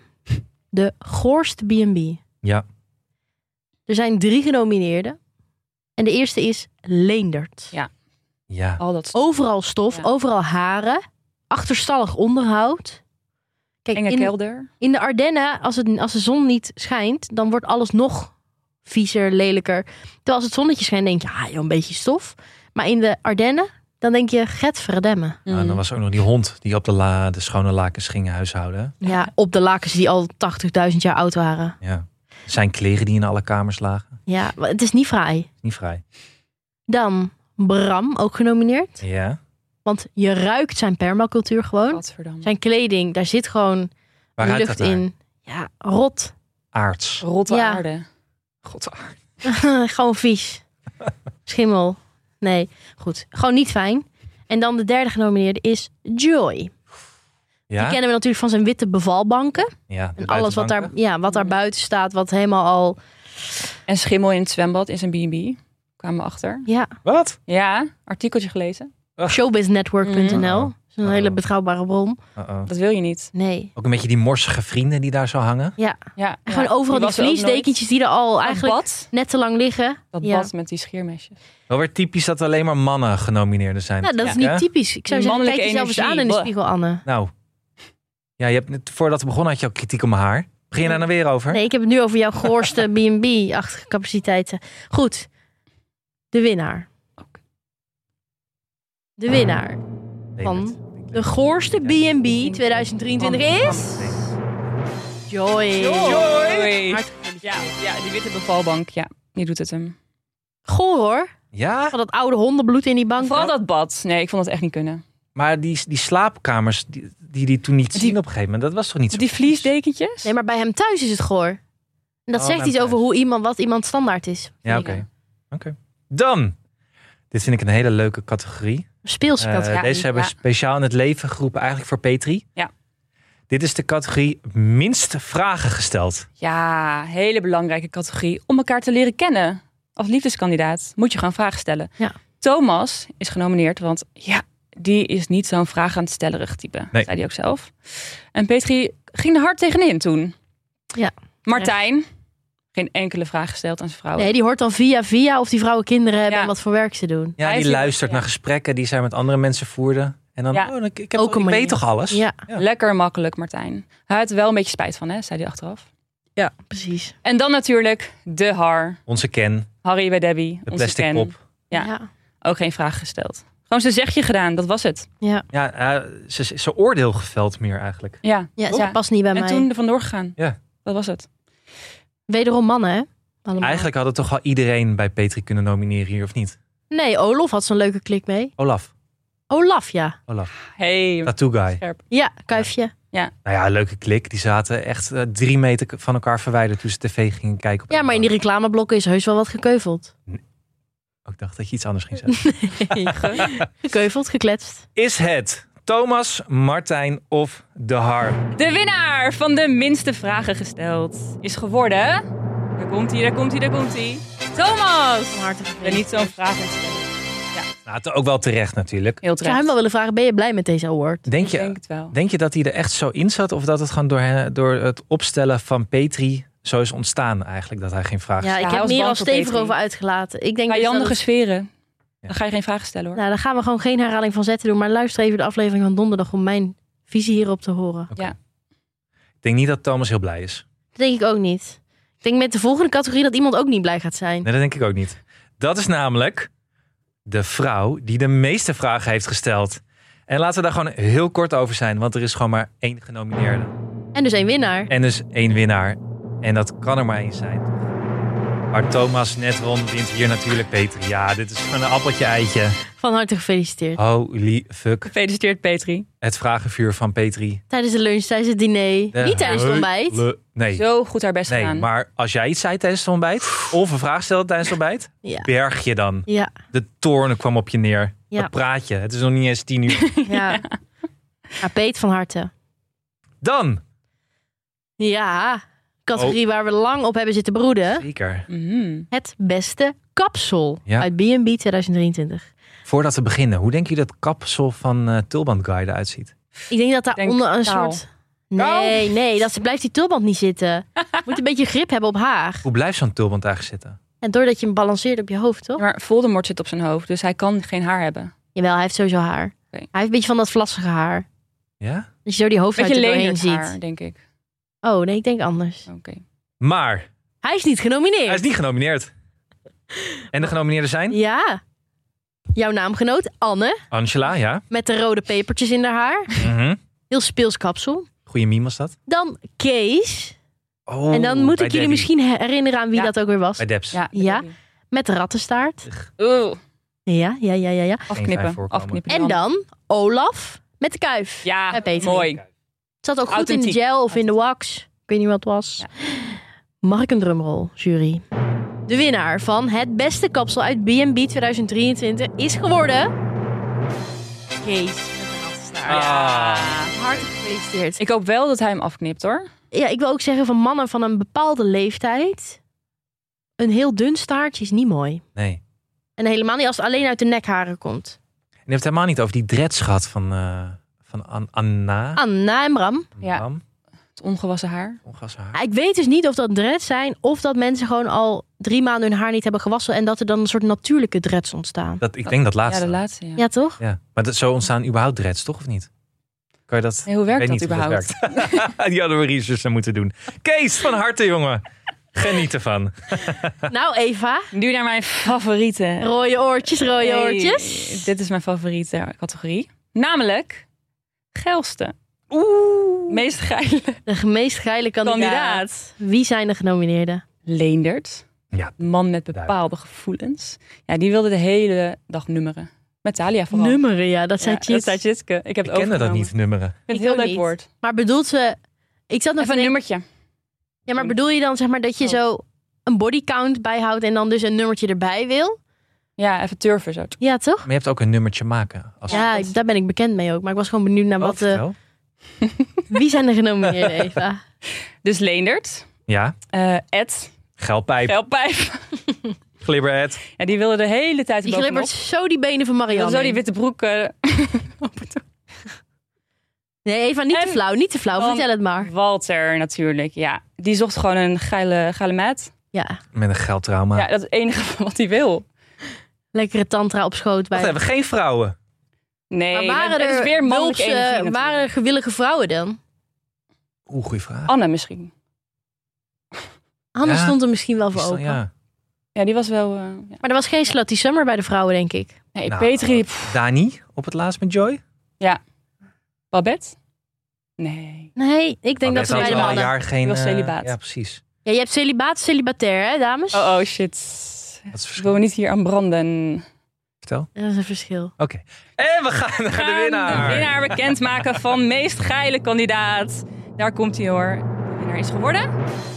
De goorste B&B. Ja. Er zijn drie genomineerden. En de eerste is Leendert. Oh. Ja. Al dat Overal stof, Ja. overal haren, achterstallig onderhoud. Kijk, enge in, kelder. In de Ardennen, als, het, als de zon niet schijnt, dan wordt alles nog viezer, lelijker. Terwijl als het zonnetje schijnt, denk je, ah joh, een beetje stof. Maar in de Ardennen, dan denk je, get verdemmen. Nou, en dan was er ook nog die hond die op de, la, de schone lakens ging huishouden. Ja, op de lakens die al 80.000 jaar oud waren. Ja. Zijn kleren die in alle kamers lagen. Ja, maar het is niet fraai. Niet vrij. Dan Bram, ook genomineerd. Ja. Want je ruikt zijn permacultuur gewoon. Godverdamme. Zijn kleding, daar zit gewoon Waaruit lucht dat naar? in. Ja, rot. Aards. Rotte Ja. aarde. God, aard. gewoon vies. Schimmel. Nee, goed. Gewoon niet fijn. En dan de derde genomineerde is Joy. Die Ja? kennen we natuurlijk van zijn witte bevalbanken. ja de En alles wat daar, buitenbanken. ja, wat daar buiten staat, wat helemaal al... En schimmel in het zwembad in zijn B&B. Kwamen we achter. Ja, Wat? Ja, artikeltje gelezen. showbiznetwork.nl. Mm. Dat is een hele betrouwbare bron. Uh-oh. Dat wil je niet. Nee. Ook een beetje die morsige vrienden die daar zo hangen. Ja, En ja. gewoon overal die was er ook nooit. vliesdekentjes die er al eigenlijk Dat bad, net te lang liggen. dat ja. bad met die scheermesjes. Wel weer typisch dat alleen maar mannen genomineerden zijn. Nou, dat is Ja. niet typisch. Ik zou Die zeggen, kijk mannelijke jezelf eens aan energie. in de Bleh. spiegel, Anne. Nou, ja, je hebt net, voordat we begonnen had je al kritiek op mijn haar. Begin je daar nou weer over? Nee, ik heb het nu over jouw goorste B&B-achtige capaciteiten. Goed. De winnaar. De winnaar Nee, van dat- de goorste B&B 2023 Oh, is... Joy. Oh, Joy. Hartelijk Ja, ja, die witte bevalbank. Ja, die doet het hem. Goor hoor. Ja, Van dat oude hondenbloed in die bank. Vooral dat bad. Nee, ik vond dat echt niet kunnen. maar die, die slaapkamers die, die die toen niet Die- zien op een gegeven moment, dat was toch niet zo? Die vliesdekentjes. Nee, maar bij hem thuis is het goor. En dat Oh, zegt bij iets hem over thuis. hoe iemand, wat iemand standaard is. vind Ja, ik. oké. Oké. Dan, dit vind ik een hele leuke categorie. Een speelse Eh, categorie. deze hebben we ja. speciaal in het leven geroepen, eigenlijk voor Petri. Ja. Dit is de categorie minste vragen gesteld. Ja, hele belangrijke categorie om elkaar te leren kennen. Als liefdeskandidaat moet je gewoon vragen stellen. Ja. Thomas is genomineerd, want ja, die is niet zo'n vraag aan het stellerig type, Nee. zei hij ook zelf. En Petri ging er hard tegenin toen. Ja, Martijn, geen enkele vraag gesteld aan zijn vrouw. Nee, die hoort dan via via of die vrouwen kinderen hebben oh. Ja. en wat voor werk ze doen. Ja, Hij die is- luistert ja. naar gesprekken die zij met andere mensen voerden. En dan, Ja. oh, ik, ik, heb, Ook een ik manier. weet toch alles? Ja, Ja. Lekker makkelijk, Martijn. Hij had er wel een beetje spijt van, hè, zei hij achteraf. precies. En dan natuurlijk de Har, Onze Ken, Harry bij Debbie. de onze plastic Ken. pop. Ja. ja. Ook geen vraag gesteld. Gewoon zijn zegje gedaan, dat was het. ja. Ja, eh, ze, ze- ze oordeel geveld meer eigenlijk. Ja, Ja, Toch? zij past niet bij en mij. toen er vandoor gegaan. Ja. Dat was het. Wederom mannen, hè? Allemaal. Eigenlijk hadden toch wel iedereen bij Petri kunnen nomineren hier, of niet? Nee, Olaf had zo'n leuke klik mee. Olaf, Olaf, ja. Olaf, Hey, tattoo guy. scherp. Ja, kuifje. Nou ja, leuke klik. Die zaten echt eh, drie meter k- van elkaar verwijderd toen ze tv gingen kijken. Op Ja, maar in die reclameblokken is heus wel wat gekeuveld. Oh, Ik dacht dat je iets anders ging zeggen. gekeuveld, gekletst. Is het Thomas, Martijn of De Har? De winnaar van de minste vragen gesteld is geworden. Daar komt hij, daar komt hij, daar komt hij. Thomas! Ik ben niet zo'n vraag aan stellen. Nou, het ook wel terecht natuurlijk. Heel Ik zou hem terecht. wel willen vragen, ben je blij met deze award? Denk Ik denk je, het wel. denk je dat hij er echt zo in zat? Of dat het gewoon door, hen- door het opstellen van Petri zo is ontstaan eigenlijk? Dat hij geen vraag Ja, stelde? ik hij heb was me hier bang al voor stevig Petri. over uitgelaten. Ik denk dus dat Vijandige het- sferen. Ja. Dan ga je geen vragen stellen hoor. Nou, dan gaan we gewoon geen herhaling van zetten doen. Maar luister even de aflevering van donderdag om mijn visie hierop te horen. Oké. Ja. Ik denk niet dat Thomas heel blij is. Dat denk ik ook niet. Ik denk met de volgende categorie dat iemand ook niet blij gaat zijn. Nee, dat denk ik ook niet. Dat is namelijk de vrouw die de meeste vragen heeft gesteld. En laten we daar gewoon heel kort over zijn, want er is gewoon maar één genomineerde. En dus één winnaar. En dus één winnaar. En dat kan er maar één zijn. Maar Thomas net won, wint hier natuurlijk Peter. Ja, dit is gewoon een appeltje eitje. Van harte gefeliciteerd. Holy fuck. Gefeliciteerd, Petri. Het vragenvuur van Petri. Tijdens de lunch, tijdens het diner. De niet tijdens het ontbijt. hele- Nee, Zo goed haar best nee, gedaan. maar als jij iets zei tijdens het ontbijt... of een vraag stelde tijdens het ontbijt... Ja. berg je dan. Ja, De toorn kwam op je neer. Ja. Wat praat je? Het is nog niet eens tien uur. ja. Ja, Peet van harte. Dan. Ja, categorie Oh. waar we lang op hebben zitten broeden. Zeker. Mhm. Het beste kapsel Ja. uit B&B 2023. Voordat we beginnen, hoe denk je dat kapsel van eh Tulband Guide eruit Ik denk dat daar Denk onder een kaal. soort... Nee, nee, dat ze blijft die tulband niet zitten. Moet een beetje grip hebben op haar. Hoe blijft zo'n tulband eigenlijk zitten? En doordat je hem balanceert op je hoofd, toch? Ja, Maar Voldemort zit op zijn hoofd, dus hij kan geen haar hebben. Jawel, hij heeft sowieso haar. Hij heeft een beetje van dat vlassige haar. Ja? Dat je zo die hoofd Beetje er doorheen lenend ziet. haar, denk ik. Oh, nee, ik denk anders. Oké. Maar Hij is niet genomineerd. hij is niet genomineerd. En de genomineerden zijn? Ja. Jouw naamgenoot, Anne, Angela, ja. met de rode pepertjes in haar haar. Mhm. Heel speels kapsel. Goeie meme was dat. Dan Kees. Oh, en dan moet bij ik jullie Debbie. misschien herinneren aan wie Ja. dat ook weer was. Bij Debs. Ja. Ja. weet ik niet. Met de rattenstaart. Oeh, Ja, ja, ja, ja, ja. fijn afknippen. voorkomen. afknippen. En dan Olaf met de kuif. Ja, Bij Peter. mooi. Zat ook goed in de Authentiek. gel of in de wax. Ik weet niet wat het was. Mag ik een drumroll, jury? De winnaar van het beste kapsel uit B&B 2023 is geworden... Kees. met de rattenstaart. Ah. Hartelijk gefeliciteerd. Ik hoop wel dat hij hem afknipt hoor. Ja, ik wil ook zeggen van mannen van een bepaalde leeftijd... een heel dun staartje is niet mooi. Nee. En En helemaal niet als het alleen uit de nekharen komt. je hebt het helemaal niet over die dreads gehad van, eh, van An- Anna. Anna en Bram. Ah, Ja. Bram, Het ongewassen haar. ongewassen haar. Ja, Ik weet dus niet of dat dreads zijn of dat mensen gewoon al drie maanden hun haar niet hebben gewassen en dat er dan een soort natuurlijke dreads ontstaan. Dat, ik denk dat Ja, laatste. de laatste. Ja. Ja, toch? Ja. Maar dat, zo ontstaan überhaupt dreads, toch of niet? Kan je dat... Nee, hoe Ik werkt weet dat niet hoe überhaupt? dat werkt. Die hadden we research aan moeten doen. Kees, van harte jongen. Geniet ervan. Nou, Eva, Nu naar mijn favoriete. rode oortjes, rode Hey, oortjes. Dit is mijn favoriete categorie. Namelijk geilste. Oeh. Meest geile De meest geile kandidaat. kandidaat. Wie zijn de genomineerden? Leendert. Ja. Een Man met bepaalde gevoelens. Ja, die wilde de hele dag nummeren. Met Talia vooral. Nummeren, ja, dat zijn Ja, cheats. dat zei Tjitske. Ik heb Ik het kende dat overgenomen. niet, nummeren. Ik vind Ik het ook een heel niet. leuk woord. Maar bedoelt ze. Ik zat nog Even te een denken- nummertje. Ja, maar bedoel je dan zeg maar dat je Oh. zo een bodycount bijhoudt en dan dus een nummertje erbij wil? Ja, even turven zo. Ja, toch? Maar je hebt ook een nummertje maken. Als Ja, dat- daar ben ik bekend mee ook. Maar ik was gewoon benieuwd naar Oh, wat. eh, vertel. wie zijn de genomineerden, Eva? Dus Leendert, Ja, eh, Ed, gelpijp, Gelpijp. glibberhead. Ja, die wilde de hele tijd Die bovenop. glibbert zo die benen van Die Marianne. wilde Zo die in. witte broek. eh, op het- Nee, Eva, niet te En flauw, niet te flauw. dan- Vertel het maar. Walter natuurlijk, ja. Die zocht gewoon een geile, geile maat. Ja, Met een geldtrauma. Ja, dat is het enige wat hij wil. lekkere tantra op schoot. Bij... Wacht even, geen vrouwen. Nee, maar waren dat er, is weer mannelijke Wulpse- energie natuurlijk. waren er gewillige vrouwen dan? Oeh, goeie vraag. Anne misschien. Hanne Ja. stond er misschien wel Is voor dat- open. ja. Ja, die was wel... eh, ja. Maar er was geen slutty summer bij de vrouwen, denk ik. Nee, Nou, Petri, pff, Dani, op het laatst met Joy. Babette? Nee. Nee, ik denk dat Babette we bij had de wel Oh, al een mannen... jaar geen... Die was eh, celibaat. ja, precies. Ja, je hebt celibaat, celibatair, hè, dames? Oh, oh, shit. Dat is Ik verschil. wil me niet hier aan branden. Vertel. Dat is een verschil. Oké. En we gaan naar de winnaar. De winnaar bekendmaken van meest geile kandidaat. Daar komt hij hoor. De winnaar is geworden...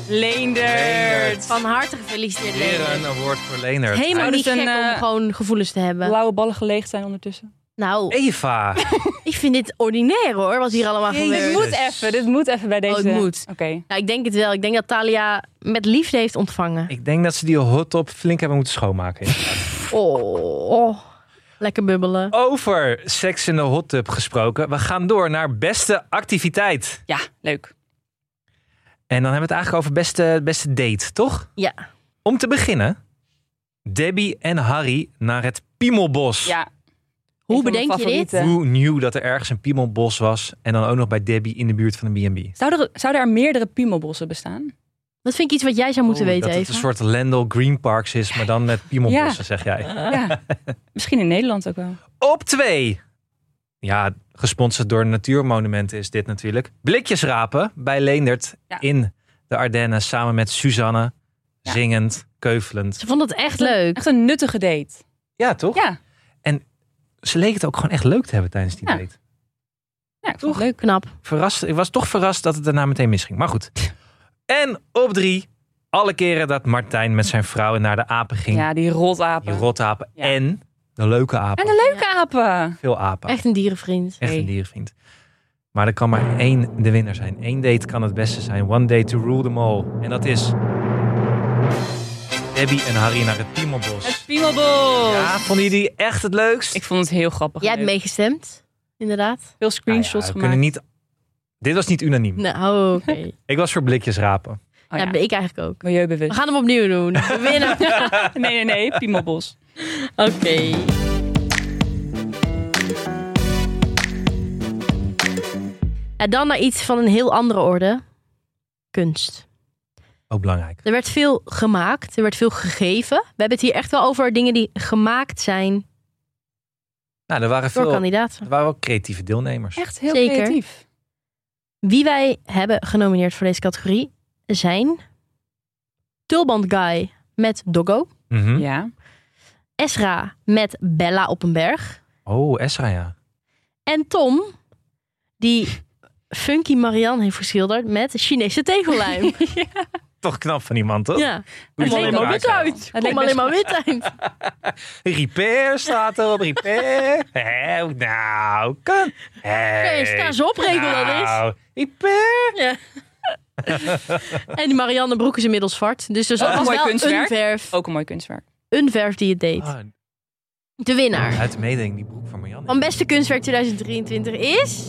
Leendert. Leendert. Van harte gefeliciteerd, Weer een Leendert. award voor Leonard. Helemaal Zou niet dit gek een, om eh, gewoon gevoelens te hebben. Blauwe ballen geleegd zijn ondertussen. Nou, Ah, Eva. ik vind dit ordinair, hoor, wat hier allemaal Jezus. gebeurt. Dit moet even, dit Oh, moet even bij deze. het moet. Oké. Ja, ik denk het wel. Ik denk dat Talia met liefde heeft ontvangen. Ik denk dat ze die hot top flink hebben moeten schoonmaken. Oh, lekker bubbelen. Over seks in de hot tub gesproken. We gaan door naar beste activiteit. Ja, leuk. En dan hebben we het eigenlijk over beste, beste date, toch? Ja. Om te beginnen, Debbie en Harry naar het Piemelbos. Ja. Hoe Een van mijn bedenk je dit? favorieten. Hoe nieuw dat er ergens een Piemelbos was. En dan ook nog bij Debbie in de buurt van de B&B. Zouden er, zouden er meerdere piemelbossen bestaan? Dat vind ik iets wat jij zou moeten Oeh, weten, Oh, dat het een Eva. soort Landel Green Parks is, maar dan met Piemelbossen, zeg jij. Ja. Misschien in Nederland ook wel. Op twee. Ja, gesponsord door Natuurmonumenten is dit natuurlijk. Blikjes rapen bij Leendert Ja. in de Ardennen samen met Suzanne. zingend, keuvelend. Ze vond het echt leuk. Echt een nuttige date. Ja, toch? Ja, Ze leek het ook gewoon echt leuk te hebben tijdens die Ja. date. ja ik vond het Leuk. Knap. Verrast, ik was toch verrast dat het daarna meteen misging. Maar goed. En op drie, alle keren dat Martijn met zijn vrouw naar de apen leuk. ging. Ja, die rotapen. Die rotapen Ja. en de leuke apen. en de leuke apen. Veel apen. Echt een dierenvriend. Echt Hey. een dierenvriend. Maar er kan maar één de winnaar zijn. Eén date kan het beste zijn. One day to rule them all. En dat is... Debbie en Harry naar het Het Piemelbos. Piemelbos. Ja, vonden jullie echt het leukst? Ik vond het heel grappig. Jij en hebt leuk. meegestemd, inderdaad. Veel Nou ja, screenshots we gemaakt. kunnen niet... Dit was niet unaniem. Nou, oké. Ik was voor blikjes rapen. Oh, ja. ja. ben ik eigenlijk ook. We Milieubewust. gaan hem opnieuw doen. We winnen. Nee, nee, nee. Piemelbos. Oké. En dan naar iets van een heel andere orde. Kunst. Ook belangrijk. Er werd veel gemaakt, er werd veel gegeven. We hebben het hier echt wel over dingen die gemaakt zijn Nou, er waren door veel... kandidaten. Er waren ook creatieve deelnemers. Echt heel Zeker. creatief. Wie wij hebben genomineerd voor deze categorie zijn... Tulband Guy met Doggo. Mhm. Ja. Esra met Bella op een berg. Oh, Esra, ja. En Tom, die Funky Marianne heeft geschilderd met Chinese tegellijm. Toch knap van iemand, toch? ja. Hoe je Het het leek in maar elkaar wit krijgt. uit. Het nou leek leek alleen best maar wit uit. Repair staat er op repair. Hé, nou, kan. Hey. Oké, sta eens op, regel dat eens. Nou, Repair. Ja. en die Marianne broek is inmiddels zwart. Dus er zat Ook een dus mooi wel kunstwerk. een verf, Ook een mooi kunstwerk. een verf die het deed. Ah, De winnaar uit de mededeling, die broek van Marianne. van Beste Kunstwerk 2023 is...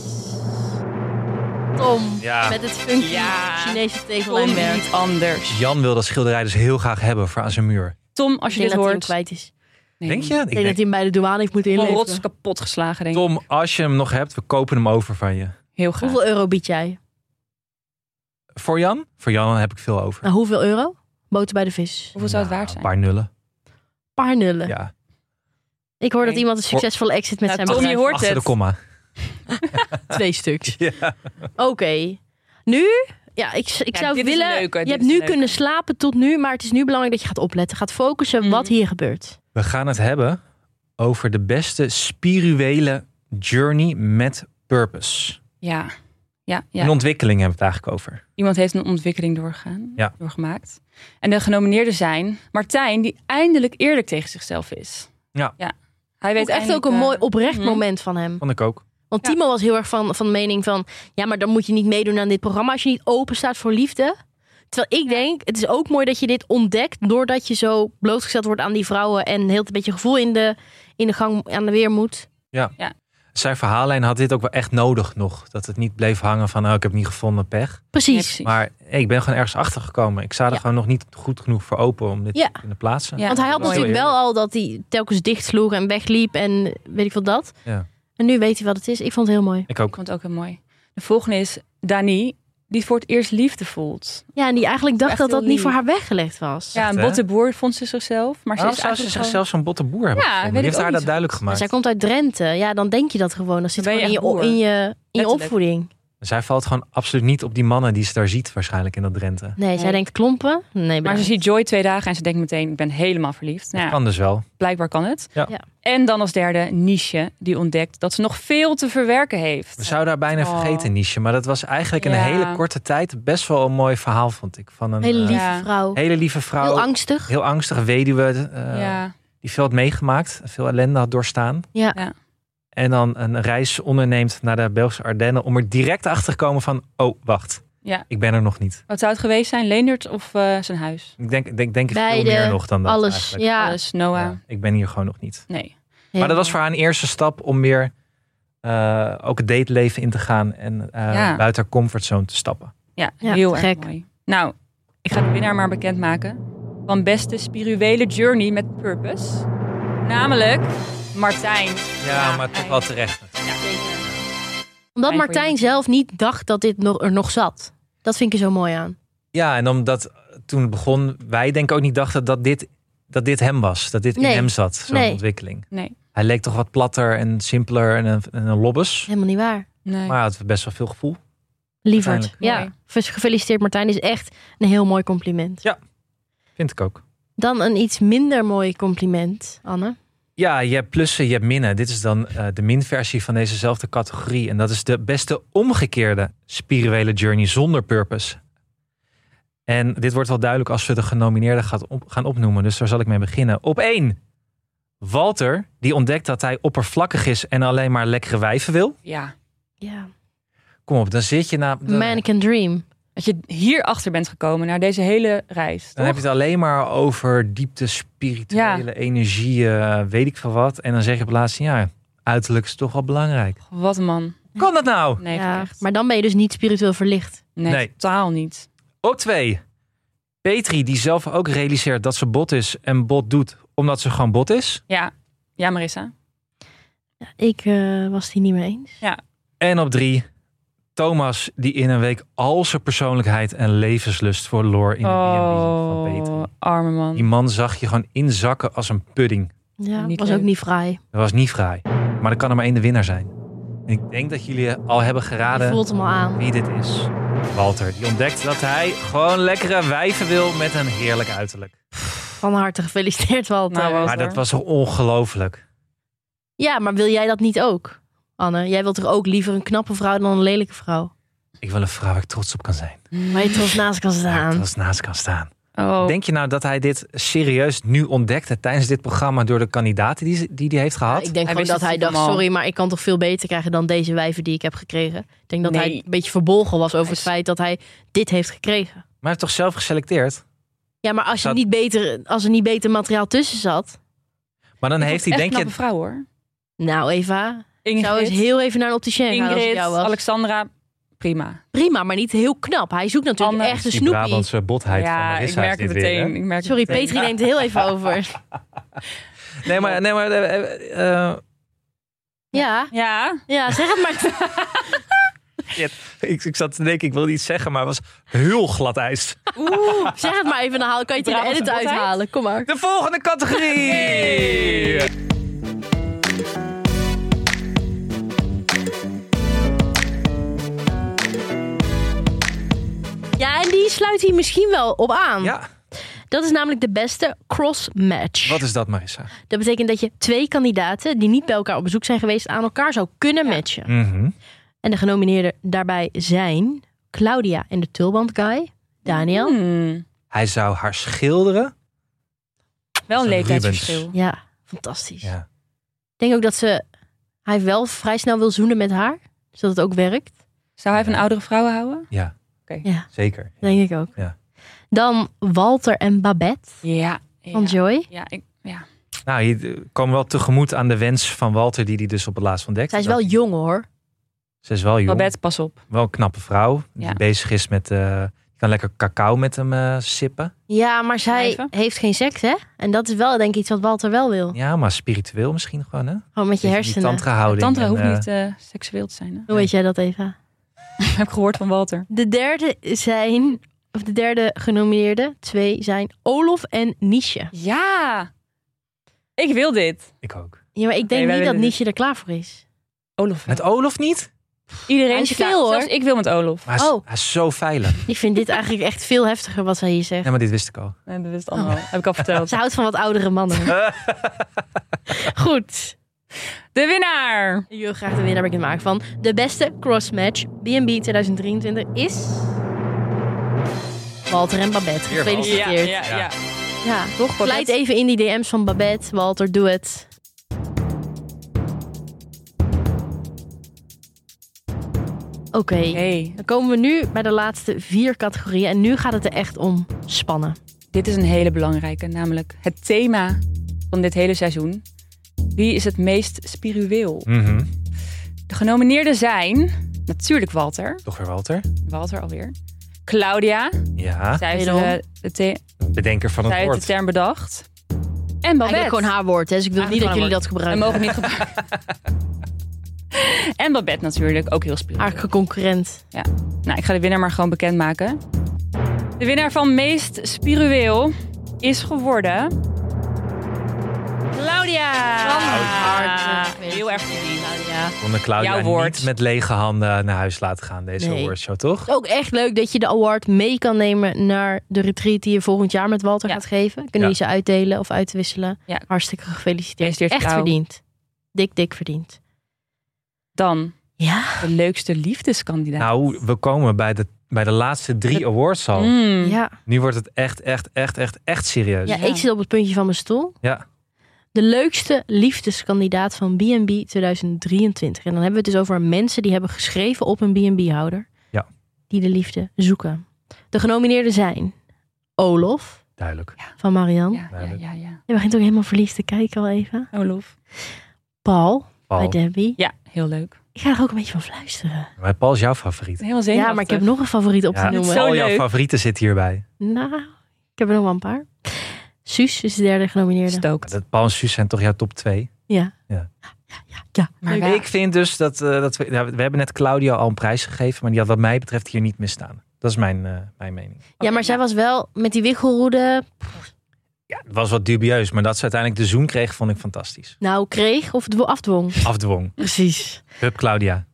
Tom. Ja. Met het funky Ja. Chinese Tom tegellijmwerk. niet anders. Jan wil dat schilderij dus heel graag hebben voor aan zijn muur. Tom, als Ik je denk dit dat hij hem hoort. kwijt is. Nee. Denk je? Ik denk dat hij hem bij de douane heeft moeten Van inleveren. rots kapot geslagen, denk ik. Tom, als je hem nog hebt, we kopen hem over van je. Heel graag. Hoeveel euro bied jij? Voor Jan? Voor Jan heb ik veel over. Nou, hoeveel euro? Boter bij de vis. Hoeveel zou het Nou, waard zijn? Een paar nullen. Paar nullen. Ja. Ik hoor dat Oké. iemand een succesvolle exit met Nou, zijn Tom, je bedrijf. hoort Achter de het. komma. Twee stuks. Ja. Oké. Nu? Ja, ik, ik Ja, zou dit is willen... een leuke, je dit hebt is nu een leuke. kunnen slapen tot nu, maar het is nu belangrijk dat je gaat opletten. Gaat focussen Mhm. wat hier gebeurt. We gaan het hebben over de beste spirituele journey met purpose. Ja. Ja, ja. Een ontwikkeling hebben we het eigenlijk over. Iemand heeft een ontwikkeling doorgegaan, Ja. doorgemaakt. En de genomineerden zijn Martijn, die eindelijk eerlijk tegen zichzelf is. Ja. ja. Hij Weet weet echt ook eindelijk, een eh, mooi oprecht mhm. moment van hem. Vond ik ook. Want Ja. Timo was heel erg van, van mening van... Ja, maar dan moet je niet meedoen aan dit programma als je niet open staat voor liefde. Terwijl ik denk, het is ook mooi dat je dit ontdekt... doordat je zo blootgesteld wordt aan die vrouwen... en heel het beetje gevoel in de, in de gang aan de weer moet. Zijn verhaallijn had dit ook wel echt nodig nog. Dat het niet bleef hangen van, oh, ik heb niet gevonden, pech. Ja, Precies. precies. Maar hey, ik ben gewoon ergens achter gekomen. Ik sta er Ja. gewoon nog niet goed genoeg voor open om dit Ja. te kunnen plaatsen. Ja. Want hij had dat is natuurlijk wel wel al dat hij telkens dicht sloeg en wegliep en weet ik wat dat. Ja. En nu weet hij wat het is. Ik vond het heel mooi. Ik Ik ook. vond het ook heel mooi. De volgende is Dani, die voor het eerst liefde voelt. Ja, en die eigenlijk dacht Echt dat heel dat niet voor lief. haar weggelegd was. Ja, een hè? botte boer vond ze zichzelf. Maar ze Waarom is zou ze eigenlijk zichzelf zo'n botte boer hebben Ja, gevonden? weet Wie ik heeft ook haar dat niet zo duidelijk Maar gemaakt? zij komt uit Drenthe. Ja, dan denk je dat gewoon. Dat zit Dan ben gewoon je in je, o- echt boer. in je, in je Letterlijk. opvoeding. Zij valt gewoon absoluut niet op die mannen die ze daar ziet waarschijnlijk in dat Drenthe. Nee, zij Nee. denkt klompen. Nee, gewoon- Maar ze ziet Joy twee dagen en ze denkt meteen, ik ben helemaal verliefd. Nou, ja, Kan dus wel. blijkbaar kan het. Ja. Ja. En dan als derde Niche, die ontdekt dat ze nog veel te verwerken heeft. We zouden haar bijna Oh. vergeten, Niche. Maar dat was eigenlijk in Ja. een hele korte tijd best wel een mooi verhaal, vond ik. Van een hele eh, lieve Ja. vrouw. hele lieve vrouw. Heel angstig. heel angstige weduwe. eh, ja. die veel had meegemaakt, veel ellende had doorstaan. Ja. Ja. En dan een reis onderneemt naar de Belgische Ardennen om er direct achter te komen van, oh wacht, Ja. ik ben er nog niet. Wat zou het geweest zijn? Leendert of eh, zijn huis? Ik denk, ik denk, denk ik Beide, veel meer nog dan dat Alles. eigenlijk. Ja. Alles, Noah. Ja, ik ben hier gewoon nog niet. Nee. Maar dat was Ja. voor haar een eerste stap om meer eh, ook het dateleven in te gaan en eh, Ja. buiten haar comfortzone te stappen. Ja, Ja, heel erg gek. mooi. Nou, ik ga de winnaar maar bekendmaken. Van beste spirituele journey met purpose. Namelijk Martijn. Ja, maar toch wel terecht. Omdat Fijn voor Martijn jou. zelf niet dacht dat dit nog, er nog zat. Dat vind ik er zo mooi aan. Ja, en omdat toen het begon, wij denk ik ook niet dachten dat dit, dat dit hem was. Dat dit Nee. in hem zat, zo'n Nee. ontwikkeling. Nee. Hij leek toch wat platter en simpeler en een, en een lobbes. Helemaal niet waar. Nee. Maar hij had best wel veel gevoel. Lieverd. Uiteindelijk. Ja. Mooi. Gefeliciteerd Martijn. Dit is echt een heel mooi compliment. Ja. Vind Vind ik ook. Dan een iets minder mooi compliment, Anne. Ja, je hebt plussen, je hebt minnen. Dit is dan eh, de minversie van dezezelfde categorie. En dat is de beste omgekeerde spirituele journey zonder purpose. En dit wordt wel duidelijk als we de genomineerden gaat op- gaan opnoemen. Dus daar zal ik mee beginnen. Op één. Walter, die ontdekt dat hij oppervlakkig is en alleen maar lekkere wijven wil. Ja. Ja. Kom op, dan zit je na... Dan, Man can dream. Dat je hierachter bent gekomen naar deze hele reis. dan toch? heb je het alleen maar over diepte, spirituele energie, eh, weet ik veel wat. En dan zeg je op het laatste jaar, uiterlijk is toch wel belangrijk. Wat een man. Kan dat nou? Nee, ja. echt. Maar dan ben je dus niet spiritueel verlicht. nee, Nee. totaal niet. Op twee. Petri, die zelf ook realiseert dat ze bot is en bot doet omdat ze gewoon bot is. Ja, ja Marissa. Ik eh, was die niet mee eens. En op drie. Thomas, die in een week al zijn persoonlijkheid en levenslust verloor in de B&B van Oh, Petri. arme Die man. man zag je gewoon inzakken als een pudding. Ja, Niet was leuk. ook niet fraai. Dat was niet fraai. Maar er kan er maar één de winnaar zijn. En ik denk dat jullie al hebben Je geraden voelt hem al Oh. aan. wie dit is. Walter, die ontdekt dat hij gewoon lekkere wijven wil met een heerlijk uiterlijk. Van harte gefeliciteerd, Walter. Nou, Walter. Maar dat was toch ongelooflijk. Ja, maar wil jij dat niet ook, Anne? Jij wilt toch ook liever een knappe vrouw dan een lelijke vrouw? Ik wil een vrouw waar ik trots op kan zijn. Waar je trots naast kan Waar ik staan. trots naast kan staan. Oh, Denk je nou dat hij dit serieus nu ontdekte tijdens dit programma door de kandidaten die ze- die hij heeft gehad? Ik denk Hij gewoon wist dat het hij dacht, stiekem al. sorry, maar ik kan toch veel beter krijgen dan deze wijven die ik heb gekregen. Ik denk dat hij Nee. een beetje verbolgen was over Hij het is- feit dat hij dit heeft gekregen. Maar hij heeft toch zelf geselecteerd? Ja, maar als, je Dat- niet beter, als er niet beter materiaal tussen zat... Maar dan ik heeft vond hij, het denk echt je, knappe vrouw hoor. Nou, Eva, ik Ingrid, zou eens heel even naar een opticien gaan nou, als ik Ingrid jou was. Alexandra, prima. Prima, maar niet heel knap. Hij zoekt natuurlijk Anne. echt een die snoepie. Brabantse botheid van ja, ik Marissa merk is het dit weer, hè? meteen. ik merk het Sorry, meteen. Petri denkt er heel even over. Nee, maar, nee, maar eh, eh, eh, Ja, Ja, ja zeg het maar. ik, ik zat te denken, ik wilde iets zeggen, maar het was heel glad ijs. Oeh, zeg het maar even, dan haal- kan je het in de Brabantse edit botheid? uithalen. Kom maar. De volgende categorie! Ja, en die sluit hier misschien wel op aan. Ja, Dat is namelijk de beste cross-match. wat is dat Marissa? Dat betekent dat je twee kandidaten die niet bij elkaar op bezoek zijn geweest aan elkaar zou kunnen matchen. Mhm. En de genomineerden daarbij zijn Claudia en de tulband guy, Daniel. Hmm, Hij zou haar schilderen. wel een Zo'n leeftijdsverschil. Rubens. Ja, fantastisch. Ja. Ik denk ook dat ze hij wel vrij snel wil zoenen met haar, zodat het ook werkt. Zou hij van oudere vrouwen houden? ja, Ja, zeker. denk ik ook. Ja. Dan Walter en Babette Ja. ja. van Joy. Ja, ik, ja. Nou, je kwam wel tegemoet aan de wens van Walter, die hij dus op het laatst ontdekte. Zij is Dat wel hij- jong hoor. Ze is wel jong. Babette, pas op. Wel een knappe vrouw. Die Ja. bezig is met... eh je kan lekker cacao met hem eh, sippen. Ja, maar zij Even. heeft geen seks hè? En dat is wel denk ik iets wat Walter wel Oh. wil. Ja, maar spiritueel misschien gewoon, hè? Gewoon met Beetje je die hersenen. tantra houding. Tantra en, hoeft eh, niet eh, seksueel te zijn. Hè? Hoe weet jij dat Eva? Heb ik gehoord van Walter. De derde zijn, of de derde genomineerde, twee zijn Olof en Niesje. Ja, ik wil dit. Ik ook. Ja, maar ik wij denk niet willen dat dit. Niesje er klaar voor is. Olaf. Met Olof niet? Iedereen Hij is is klaar. veel, hoor. Zelfs ik wil met Olof. Maar hij is, Oh. hij is zo veilig. Ik vind dit eigenlijk echt veel heftiger wat zij hier zegt. Ja, maar dit wist ik al. Nee, dat wist Anne Oh. al. Heb ik al verteld. Ze houdt van wat oudere mannen. Goed. De winnaar. Ik wil graag de winnaar bekend maken van de beste crossmatch B&B 2023 is... Walter en Babette. Weer Walter. Gefeliciteerd. Ja, Ja. toch? Babette. Blijf even in die DM's van Babette. Walter, doe het. Oké. Hey, Dan komen we nu bij de laatste vier categorieën. En nu gaat het er echt om spannen. dit is een hele belangrijke, namelijk het thema van dit hele seizoen. Wie is het meest spiritueel? Mhm. De genomineerden zijn natuurlijk Walter, Toch weer Walter? Walter alweer, Claudia, Ja, zij heeft Ah, Wederom. de, de the- bedenker van zij het heeft de woord. term bedacht, en Babette. Eigenlijk gewoon haar woord, hè? Dus ik wil niet dat Eigenlijk jullie gewoon dat We gebruiken. mogen niet gebruiken. en Babette natuurlijk, ook heel spiritueel. Eigenlijk een concurrent. Nou, ik ga de winnaar maar gewoon bekendmaken. De winnaar van meest spiritueel is geworden... Claudia! Van harte. Heel erg verdiend. Ja. Konden Claudia Jouw woord. niet met lege handen naar huis laten gaan, deze Nee. awardshow, toch? Ook echt leuk dat je de award mee kan nemen naar de retreat die je volgend jaar met Walter Ja. gaat geven. Kunnen Ja. we ze uitdelen of uitwisselen? Ja. Hartstikke gefeliciteerd. Gefeliciteerd, Echt vrouw. verdiend. Dik, dik verdiend. Dan Ja. de leukste liefdeskandidaat. Nou, we komen bij de, bij de laatste drie awards al. Mm. Ja. Nu wordt het echt, echt, echt, echt, echt serieus. ja, Ja. ik zit op het puntje van mijn stoel. Ja. De leukste liefdeskandidaat van B&B 2023. En dan hebben we het dus over mensen die hebben geschreven op een B&B-houder. Ja. Die de liefde zoeken. De genomineerden zijn Olof Duidelijk. van Marianne. Ja, ja, ja, ja. Je begint ook helemaal verliefd te kijken al even. Olof. Paul, bij Paul. Debbie. Ja, heel leuk. Ik ga er ook een beetje van fluisteren. Maar Paul is jouw favoriet. Heel zenuwachtig. Ja, maar ik heb nog een favoriet op te Ja, noemen. Zo al jouw leuk. favorieten zitten hierbij. Nou, ik heb er nog wel een paar. Suus is de derde genomineerde. Maar Stookt. Dat Paul en Suus zijn toch jouw top twee? Ja. Ja. Ja. Maar wij- Ik vind dus dat, eh, dat we, ja, we hebben net Claudia al een prijs gegeven, maar die had wat mij betreft hier niet misstaan. Dat is mijn, eh, mijn mening. ja, maar zij was wel met die wiggelroede. Ja, het was wat dubieus, maar dat ze uiteindelijk de zoen kreeg, vond ik fantastisch. Nou, kreeg of dwo- afdwong. Afdwong. Precies. Hup Claudia.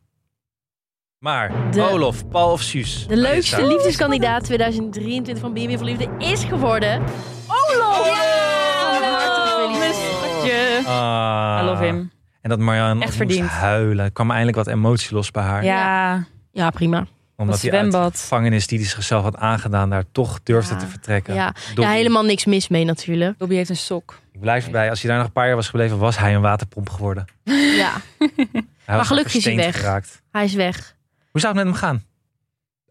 Maar De- Olof, Paul of Suus? De leukste Marissa. liefdeskandidaat 2023 van BNB van Liefde is geworden... Olof! Van harte gefeliciteerd. Mistertje. Ah. I love him. En dat Marianne Echt ook moest verdiend. huilen. Er kwam eindelijk wat emotie los bij haar. Ja, Ja, prima. Omdat dat hij uit de zwembad. gevangenis die hij zichzelf had aangedaan, daar toch durfde Ja. te vertrekken. Ja. Dobby. ja, helemaal niks mis mee natuurlijk. Dobby heeft een sok. Ik blijf erbij. Als hij daar nog een paar jaar was gebleven, was hij een waterpomp geworden. Ja, Hij was gelukkig is hij versteend weg. Geraakt. hij is weg. Hoe zou het met hem gaan?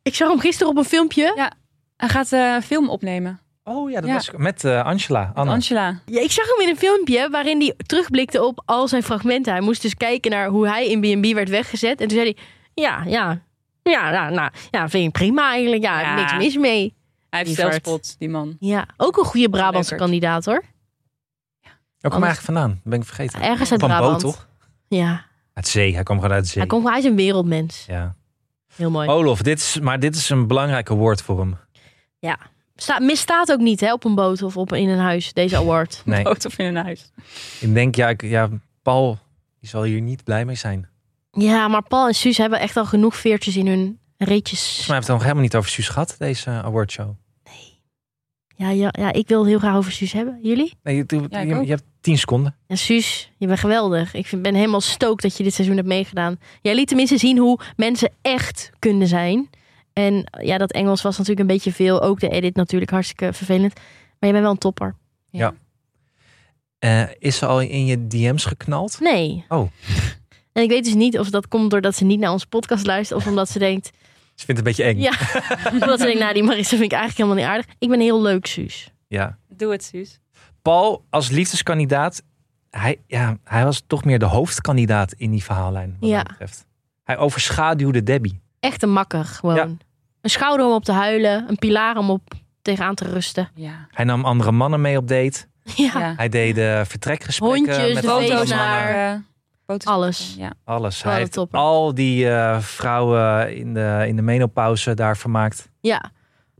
Ik zag hem gisteren op een filmpje. Hij gaat eh, een film opnemen. Oh ja, dat Ja. was met eh, Angela. Anna. Angela. Ja, ik zag hem in een filmpje waarin hij terugblikte op al zijn fragmenten. Hij moest dus kijken naar hoe hij in B&B werd weggezet. En toen zei hij, ja, ja, ja, nou, nou, ja vind ik prima eigenlijk. Ja, Ja. niks mis mee. Hij heeft Lieverd. zelfspot, die man. Ja, ook een goede Brabantse Leukert. kandidaat hoor. Waar kwam hij Anders- eigenlijk vandaan? Dat ben ik vergeten. Ergens uit van Brabant. Boot, toch? Ja, Uit zee. Hij kwam gewoon uit zee. hij, komt, hij is een wereldmens. Ja. Heel mooi. Olof, dit is, maar dit is een belangrijk woord voor hem. Sta, misstaat ook niet hè, op een boot of op, in een huis, deze award. Nee, Boot of in een huis. ik denk, ja, ik, ja, Paul die zal hier niet blij mee zijn. Volgens Ja, maar Paul en Suus hebben echt al genoeg veertjes in hun reetjes. mij hebben we het nog helemaal niet over Suus gehad, deze eh, awardshow. Ja, ja, ja, ik wil het heel graag over Suus hebben. Jullie? Nee, je, je- Ja, ik je- ook. je hebt tien seconden. Ja, Suus, je bent geweldig. Ik vind- ben helemaal stookt dat je dit seizoen hebt meegedaan. Jij liet tenminste zien hoe mensen echt kunnen zijn. En ja, dat Engels was natuurlijk een beetje veel. Ook de edit natuurlijk hartstikke vervelend. Maar je bent wel een topper. Ja. Eh, is ze al in je DM's geknald? Nee. Oh. En ik weet dus niet of dat komt doordat ze niet naar onze podcast luistert. Of omdat ze denkt... Ze vindt het een beetje eng. Ja, omdat ze denkt, nou die Marissa vind ik eigenlijk helemaal niet aardig. Ik ben heel leuk, Suus. ja. Doe het, Suus. Paul als liefdeskandidaat, hij, ja, hij was toch meer de hoofdkandidaat in die verhaallijn. Wat Ja. mij betreft. Hij overschaduwde Debbie. Echt een makker gewoon. Ja. Een schouder om op te huilen. Een pilaar om op tegenaan te rusten. Ja. Hij nam andere mannen mee op date. Ja. ja. Hij deed eh, vertrekgesprekken Hondjes, met de andere feestdagen. Foto's mannen. naar... eh, Foto's Alles. Ja. Alles. Wat Hij een heeft topper. al die eh, vrouwen in de, in de menopauze daar vermaakt. Ja.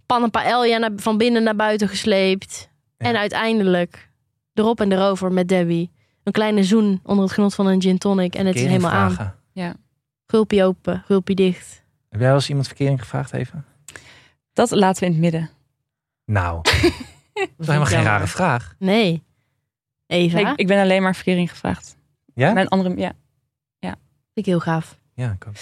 Pannen paella naar- van binnen naar buiten gesleept. Ja. En uiteindelijk erop en erover met Debbie. Een kleine zoen onder het genot van een gin tonic. En het is helemaal aan. Vragen. Gulpie open, gulpie dicht. Heb jij wel eens iemand verkering gevraagd even? Dat laten we in het midden. Nou, dat is helemaal geen Jammer. rare vraag. Nee. Eva, Nee, ik, vind ik ben alleen maar verkering gevraagd. Ja? Mijn andere... Ja. ik heel gaaf. Ja, ik ook.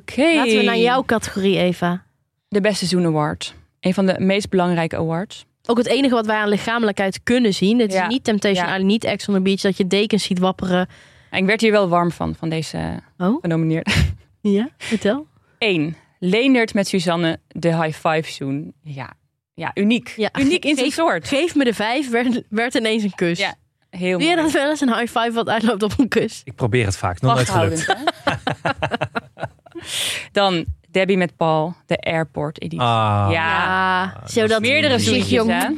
Oké. Laten we naar jouw categorie, Eva. De Beste Zoen Award. Een van de meest belangrijke awards. Ook het enige wat wij aan lichamelijkheid kunnen zien. Dit Ja. is niet Temptation Ja. Island, niet Ex on the Beach. Dat je dekens ziet wapperen. En ik werd hier wel warm van, van deze Oh? genomineerde. Ja, vertel. 1. Leendert met Suzanne de high five zoen. Ja, ja uniek. Ja. Uniek in zijn Geef- soort. Geef me de vijf, werd, werd ineens een kus. Ja, Heel Doe mooi. je dat wel eens, een high five wat uitloopt op een kus? Ik probeer het vaak. Nog nooit gelukt. Wachthoudend, hè? Dan Debbie met Paul, de airport editie. Ah, ja. Ja, zodat dat is meerdere lief. zich zoentjes, jong- hè?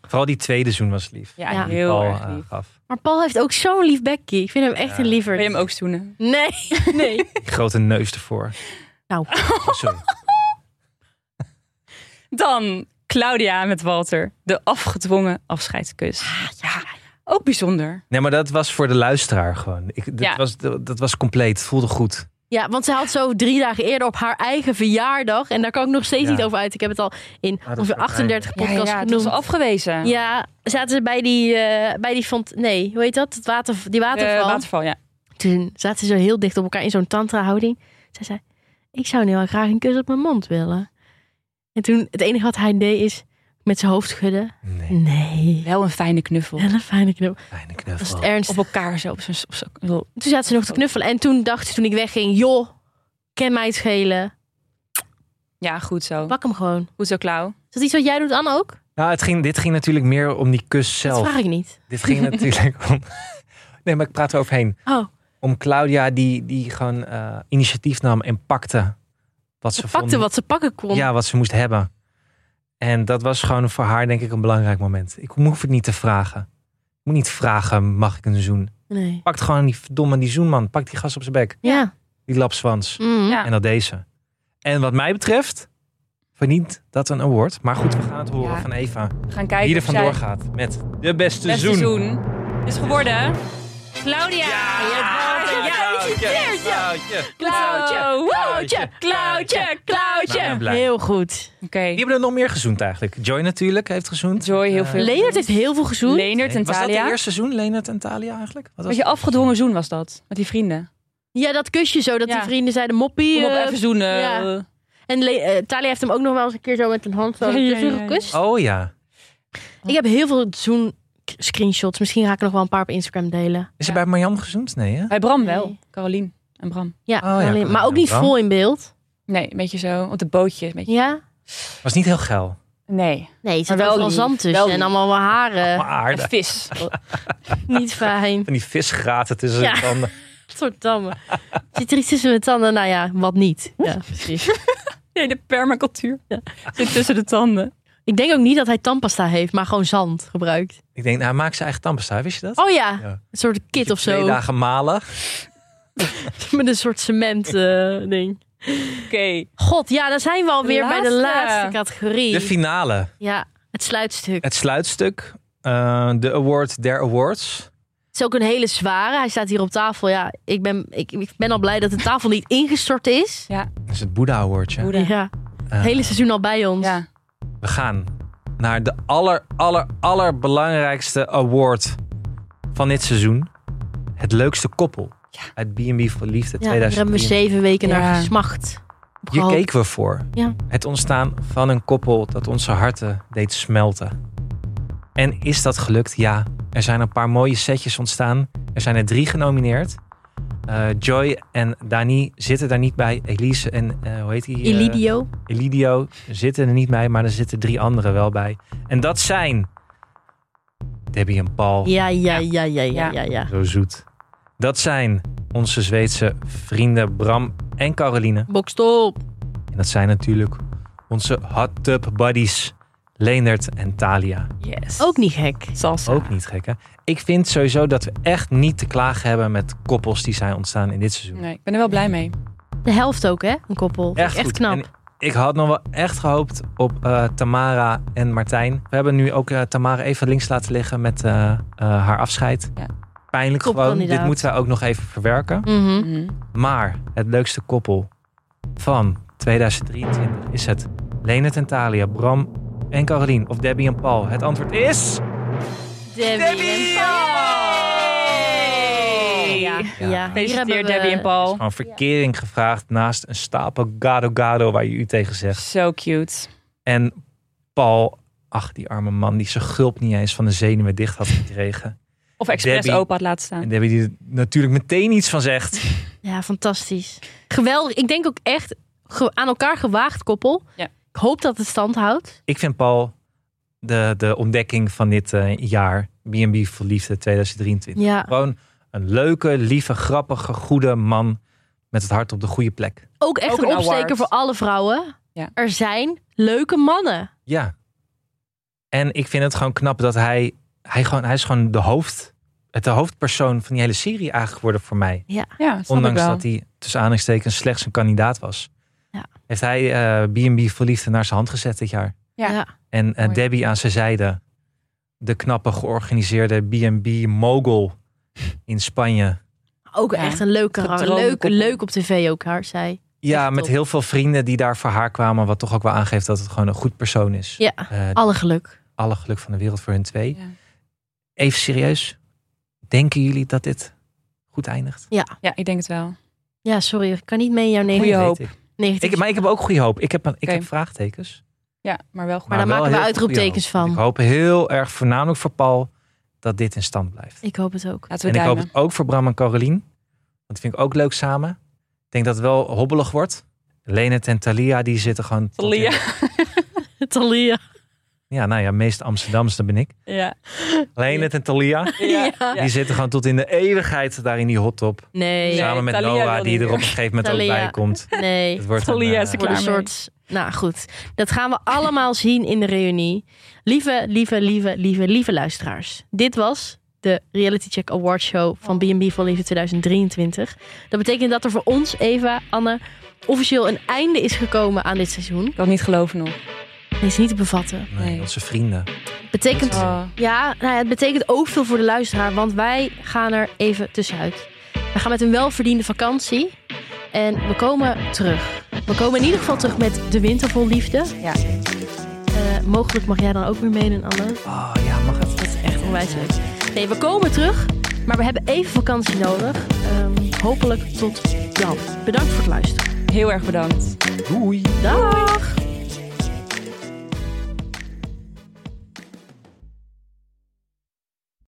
Vooral die tweede zoen was lief. Ja, Ja. heel Paul, erg eh, lief. gaf. Maar Paul heeft ook zo'n lief bekkie. Ik vind hem echt Ja. een liever. Wil je hem ook zoenen? Nee, nee. Die grote neus ervoor. Nou. Oh, Sorry. Dan Claudia met Walter, de afgedwongen afscheidskus. ja, ja, Ook bijzonder. Nee, maar dat was voor de luisteraar gewoon. Ik, dat, Ja. was, dat, dat was compleet. Het voelde goed. Ja, want ze had zo drie dagen eerder op haar eigen verjaardag. En daar kan ik nog steeds Ja. Ah, niet over uit. Ik heb het al in dat ongeveer is wel 38 Ja, podcasts ja, het was genoemd. afgewezen. Ja, zaten ze bij die, eh, bij die font... Nee, hoe heet dat? Het water, die De waterval. eh, waterval, ja. Toen zaten ze zo heel dicht op elkaar in zo'n tantra-houding. Zij zei, ik zou nu wel graag een kus op mijn mond willen. En toen, het enige wat hij deed is met zijn hoofd schudden. Nee, Nee. Wel een fijne knuffel. Wel een fijne knuffel. fijne Dat is knuffel. het ernst. Op elkaar zo. Op zo'n- op zo'n- Toen zaten ze Oh. nog te knuffelen. En toen dacht ze, toen ik wegging, joh, ken mij het schelen. Oh. ja, goed zo. Pak hem gewoon. Goed zo, Klauw. Is dat iets wat jij doet, Anne, ook? Nou, het ging, dit ging natuurlijk meer om die kus Dat zelf. vraag ik niet. Dit ging natuurlijk om... Nee, maar ik praat er overheen. Oh, Om Claudia die, die gewoon eh, initiatief nam en pakte wat ze, ze vond. pakte wat ze pakken kon. Ja, wat ze moest hebben. En dat was gewoon voor haar denk ik een belangrijk moment. Ik hoef het niet te vragen. Ik moet niet vragen, mag ik een zoen? Nee. Pakt gewoon die verdomme die zoenman. Pak die gast op zijn bek. Ja. Die lapswans. Mm. Ja. En dat deze. En wat mij betreft verdient dat een award. Maar goed, we gaan het horen Ja. van Eva. We gaan kijken Wie er of zij vandoor gaat met de beste, beste zoen. zoen is geworden... Claudia! Ja, Ja, gefeliciteerd, ja. Klauwtje, klauwtje, klauwtje, klauwtje. Nou, en Oké. blij. Heel goed. Wie hebben er nog meer gezoend eigenlijk? Joy natuurlijk heeft gezoend. Joy heel Eh, veel. Leonard heeft heel veel gezoend. Leonard en Was dat het Thalia. eerste seizoen, Leonard en Talia eigenlijk? Wat was Wat je het? afgedwongen zoen was dat. Met die vrienden. ja, dat kusje zo, dat Ja. die vrienden zeiden, moppie. Kom op, eh, even zoenen. ja. en Le- eh, Talia heeft hem ook nog wel eens een keer zo met een hand zo Ja, ja, tussen ja, ja. gekust. Oh ja. Ik heb heel veel zoen screenshots. Misschien ga ik er nog wel een paar op Instagram delen. Is Ja. er bij Marjan gezoend? Nee hè? Bij Bram wel. Nee. Carolien en Bram. Ja, ja, alleen- maar klopt. ook niet Ja, vol in beeld. Nee, een beetje zo. Op de bootjes. Een beetje. Ja? Was niet heel geil. Nee. Nee, er zit Maar wel wel lief, zand wel tussen lief. en allemaal wel haren. Maar aardig. Een vis. Niet fijn. Van die visgraten tussen Ja. de tanden. Godverdamme. Zit er iets tussen mijn tanden? Nou ja, wat niet. Ja, precies. Nee, de permacultuur. Zit tussen de tanden. Ik denk ook niet dat hij tandpasta heeft, maar gewoon zand gebruikt. Ik denk, nou, hij maakt zijn eigen tandpasta, wist je dat? Oh ja, Ja. een soort kit of Twee zo. dagen malen. Met een soort cement eh, ding. Oké. God, ja, dan zijn we alweer bij de laatste. laatste categorie. De finale. ja, het sluitstuk. Het sluitstuk. eh, de award der awards. Het is ook een hele zware. Hij staat hier op tafel. Ja, ik ben, ik, ik ben al blij dat de tafel niet ingestort is. Dat is het Boeddha awardje. Hoe dan? Ja, Eh, het hele seizoen al bij ons. Ja. We gaan naar de aller, aller, allerbelangrijkste award van dit seizoen. Het leukste koppel. Het B&B voor Liefde Ja, daar hebben we 2010. zeven weken naar Ja. gesmacht. Hier Gehoopt. keken we voor. Ja. Het ontstaan van een koppel dat onze harten deed smelten. En is dat gelukt? Ja. Er zijn een paar mooie setjes ontstaan. Er zijn er drie genomineerd. Eh, Joy en Dani zitten daar niet bij. Elise en eh, hoe heet die? eh, Elidio. Elidio zitten er niet bij, maar er zitten drie anderen wel bij. En dat zijn Debbie en Paul. Ja, ja, ja, ja, ja, Ja. ja, ja. Zo zoet. Dat zijn onze Zweedse vrienden Bram en Caroline. Bokstop. En dat zijn natuurlijk onze hot tub buddies. Leendert en Talia. Yes. Ook niet gek. salsa. Ook niet gek, hè? Ik vind sowieso dat we echt niet te klagen hebben met koppels die zijn ontstaan in dit seizoen. Nee, ik ben er wel blij mee. De helft ook, hè? Een koppel. Echt, goed. knap. En ik had nog wel echt gehoopt op eh, Tamara en Martijn. We hebben nu ook eh, Tamara even links laten liggen met eh, eh, haar afscheid. Ja. Pijnlijk gewoon. Topkandidaat. Dit moeten we ook nog even verwerken. Mhm. Maar het leukste koppel van 2023 is het Leonard en Thalia, Bram en Caroline of Debbie en Paul. Het antwoord is... Debbie, en Paul. Ja, Ja. ja. Hier hebben we- Gefeliciteerd Debbie en Paul. Gewoon verkering gevraagd naast een stapel gado gado waar je u tegen zegt. Zo cute. En Paul, ach die arme man die zijn gulp niet eens van de zenuwen dicht had gekregen. Of expres Debbie. opa had laten staan. En Debbie die er natuurlijk meteen iets van zegt. Ja, fantastisch. Geweldig. Ik denk ook echt ge- aan elkaar gewaagd koppel. Ja. Ik hoop dat het stand houdt. Ik vind Paul de, de ontdekking van dit eh, jaar. B&B voor Liefde 2023. Ja. Gewoon een leuke, lieve, grappige, goede man met het hart op de goede plek. Ook echt Ook een, een opsteker award. voor alle vrouwen. Ja. Er zijn leuke mannen. Ja. En ik vind het gewoon knap dat hij, hij gewoon, hij is gewoon de hoofd, het de hoofdpersoon van die hele serie eigenlijk geworden voor mij. Ja, dat snap Ondanks ik wel. dat hij tussen aanhalingstekens slechts een kandidaat was. Ja. Heeft hij eh B&B Verliefde naar zijn hand gezet dit jaar. Ja. Ja. En eh, Mooi. Debbie aan zijn zijde. de knappe georganiseerde B&B mogul in Spanje. Ook Ja. echt een leuk karakter. Gedroomde Leuk, koppel. leuk op tv ook, haar zij. Ja, Echt met top. heel veel vrienden die daar voor haar kwamen. Wat toch ook wel aangeeft dat het gewoon een goed persoon is. Ja, Eh, alle geluk. alle geluk van de wereld voor hun twee. Ja. Even serieus. Denken jullie dat dit goed eindigt? Ja, ik denk het wel. Ja, sorry, ik kan niet mee in jouw Goeie Dat weet negatief. hoop. Ik. negatief- Ik, maar ik heb ook goede hoop. Ik heb, een- ik Oké. heb vraagtekens. Ja, maar wel goed. Maar daar wel maken we heel veel goede uitroeptekens hoop. van. Ik hoop heel erg, voornamelijk voor Paul, dat dit in stand blijft. ik hoop het ook. Laten en we ik hoop duimen. het ook voor Bram en Carolien. Dat vind ik ook leuk samen. Ik denk dat het wel hobbelig wordt. Lenet en Thalia, die zitten gewoon... tot in- Lia. Thalia. Ja, nou ja, meest Amsterdamse ben ik. Ja. Lenet en Thalia, Ja. Ja. die zitten gewoon tot in de eeuwigheid daar in die hot top. Nee, Ja. Samen met Thalia Noah, wil die niet er op meer. een gegeven moment Thalia. ook bij komt. nee. Het wordt een, Thalia is eh, er Voor een klaar mee. soort... Nou goed, dat gaan we allemaal zien in de reunie. Lieve, lieve, lieve, lieve, lieve luisteraars. Dit was de Reality Check Award Show van B&B voor Lieve 2023. Dat betekent dat er voor ons, Eva, Anne, officieel een einde is gekomen aan dit seizoen. Ik kan het niet geloven nog. Dit is niet te bevatten. nee, Nee. onze vrienden. Betekent Oh. Ja, nou ja, het betekent ook veel voor de luisteraar, want wij gaan er even tussenuit. We gaan met een welverdiende vakantie en we komen terug. We komen in ieder geval terug met de winter vol liefde. Ja. Eh, mogelijk mag jij dan ook weer meedoen, Anne. Oh ja, mag het. Dat is echt onwijs leuk. Nee, we komen terug, maar we hebben even vakantie nodig. Ehm, hopelijk tot dan. Bedankt voor het luisteren. Heel erg bedankt. Doei. Dag!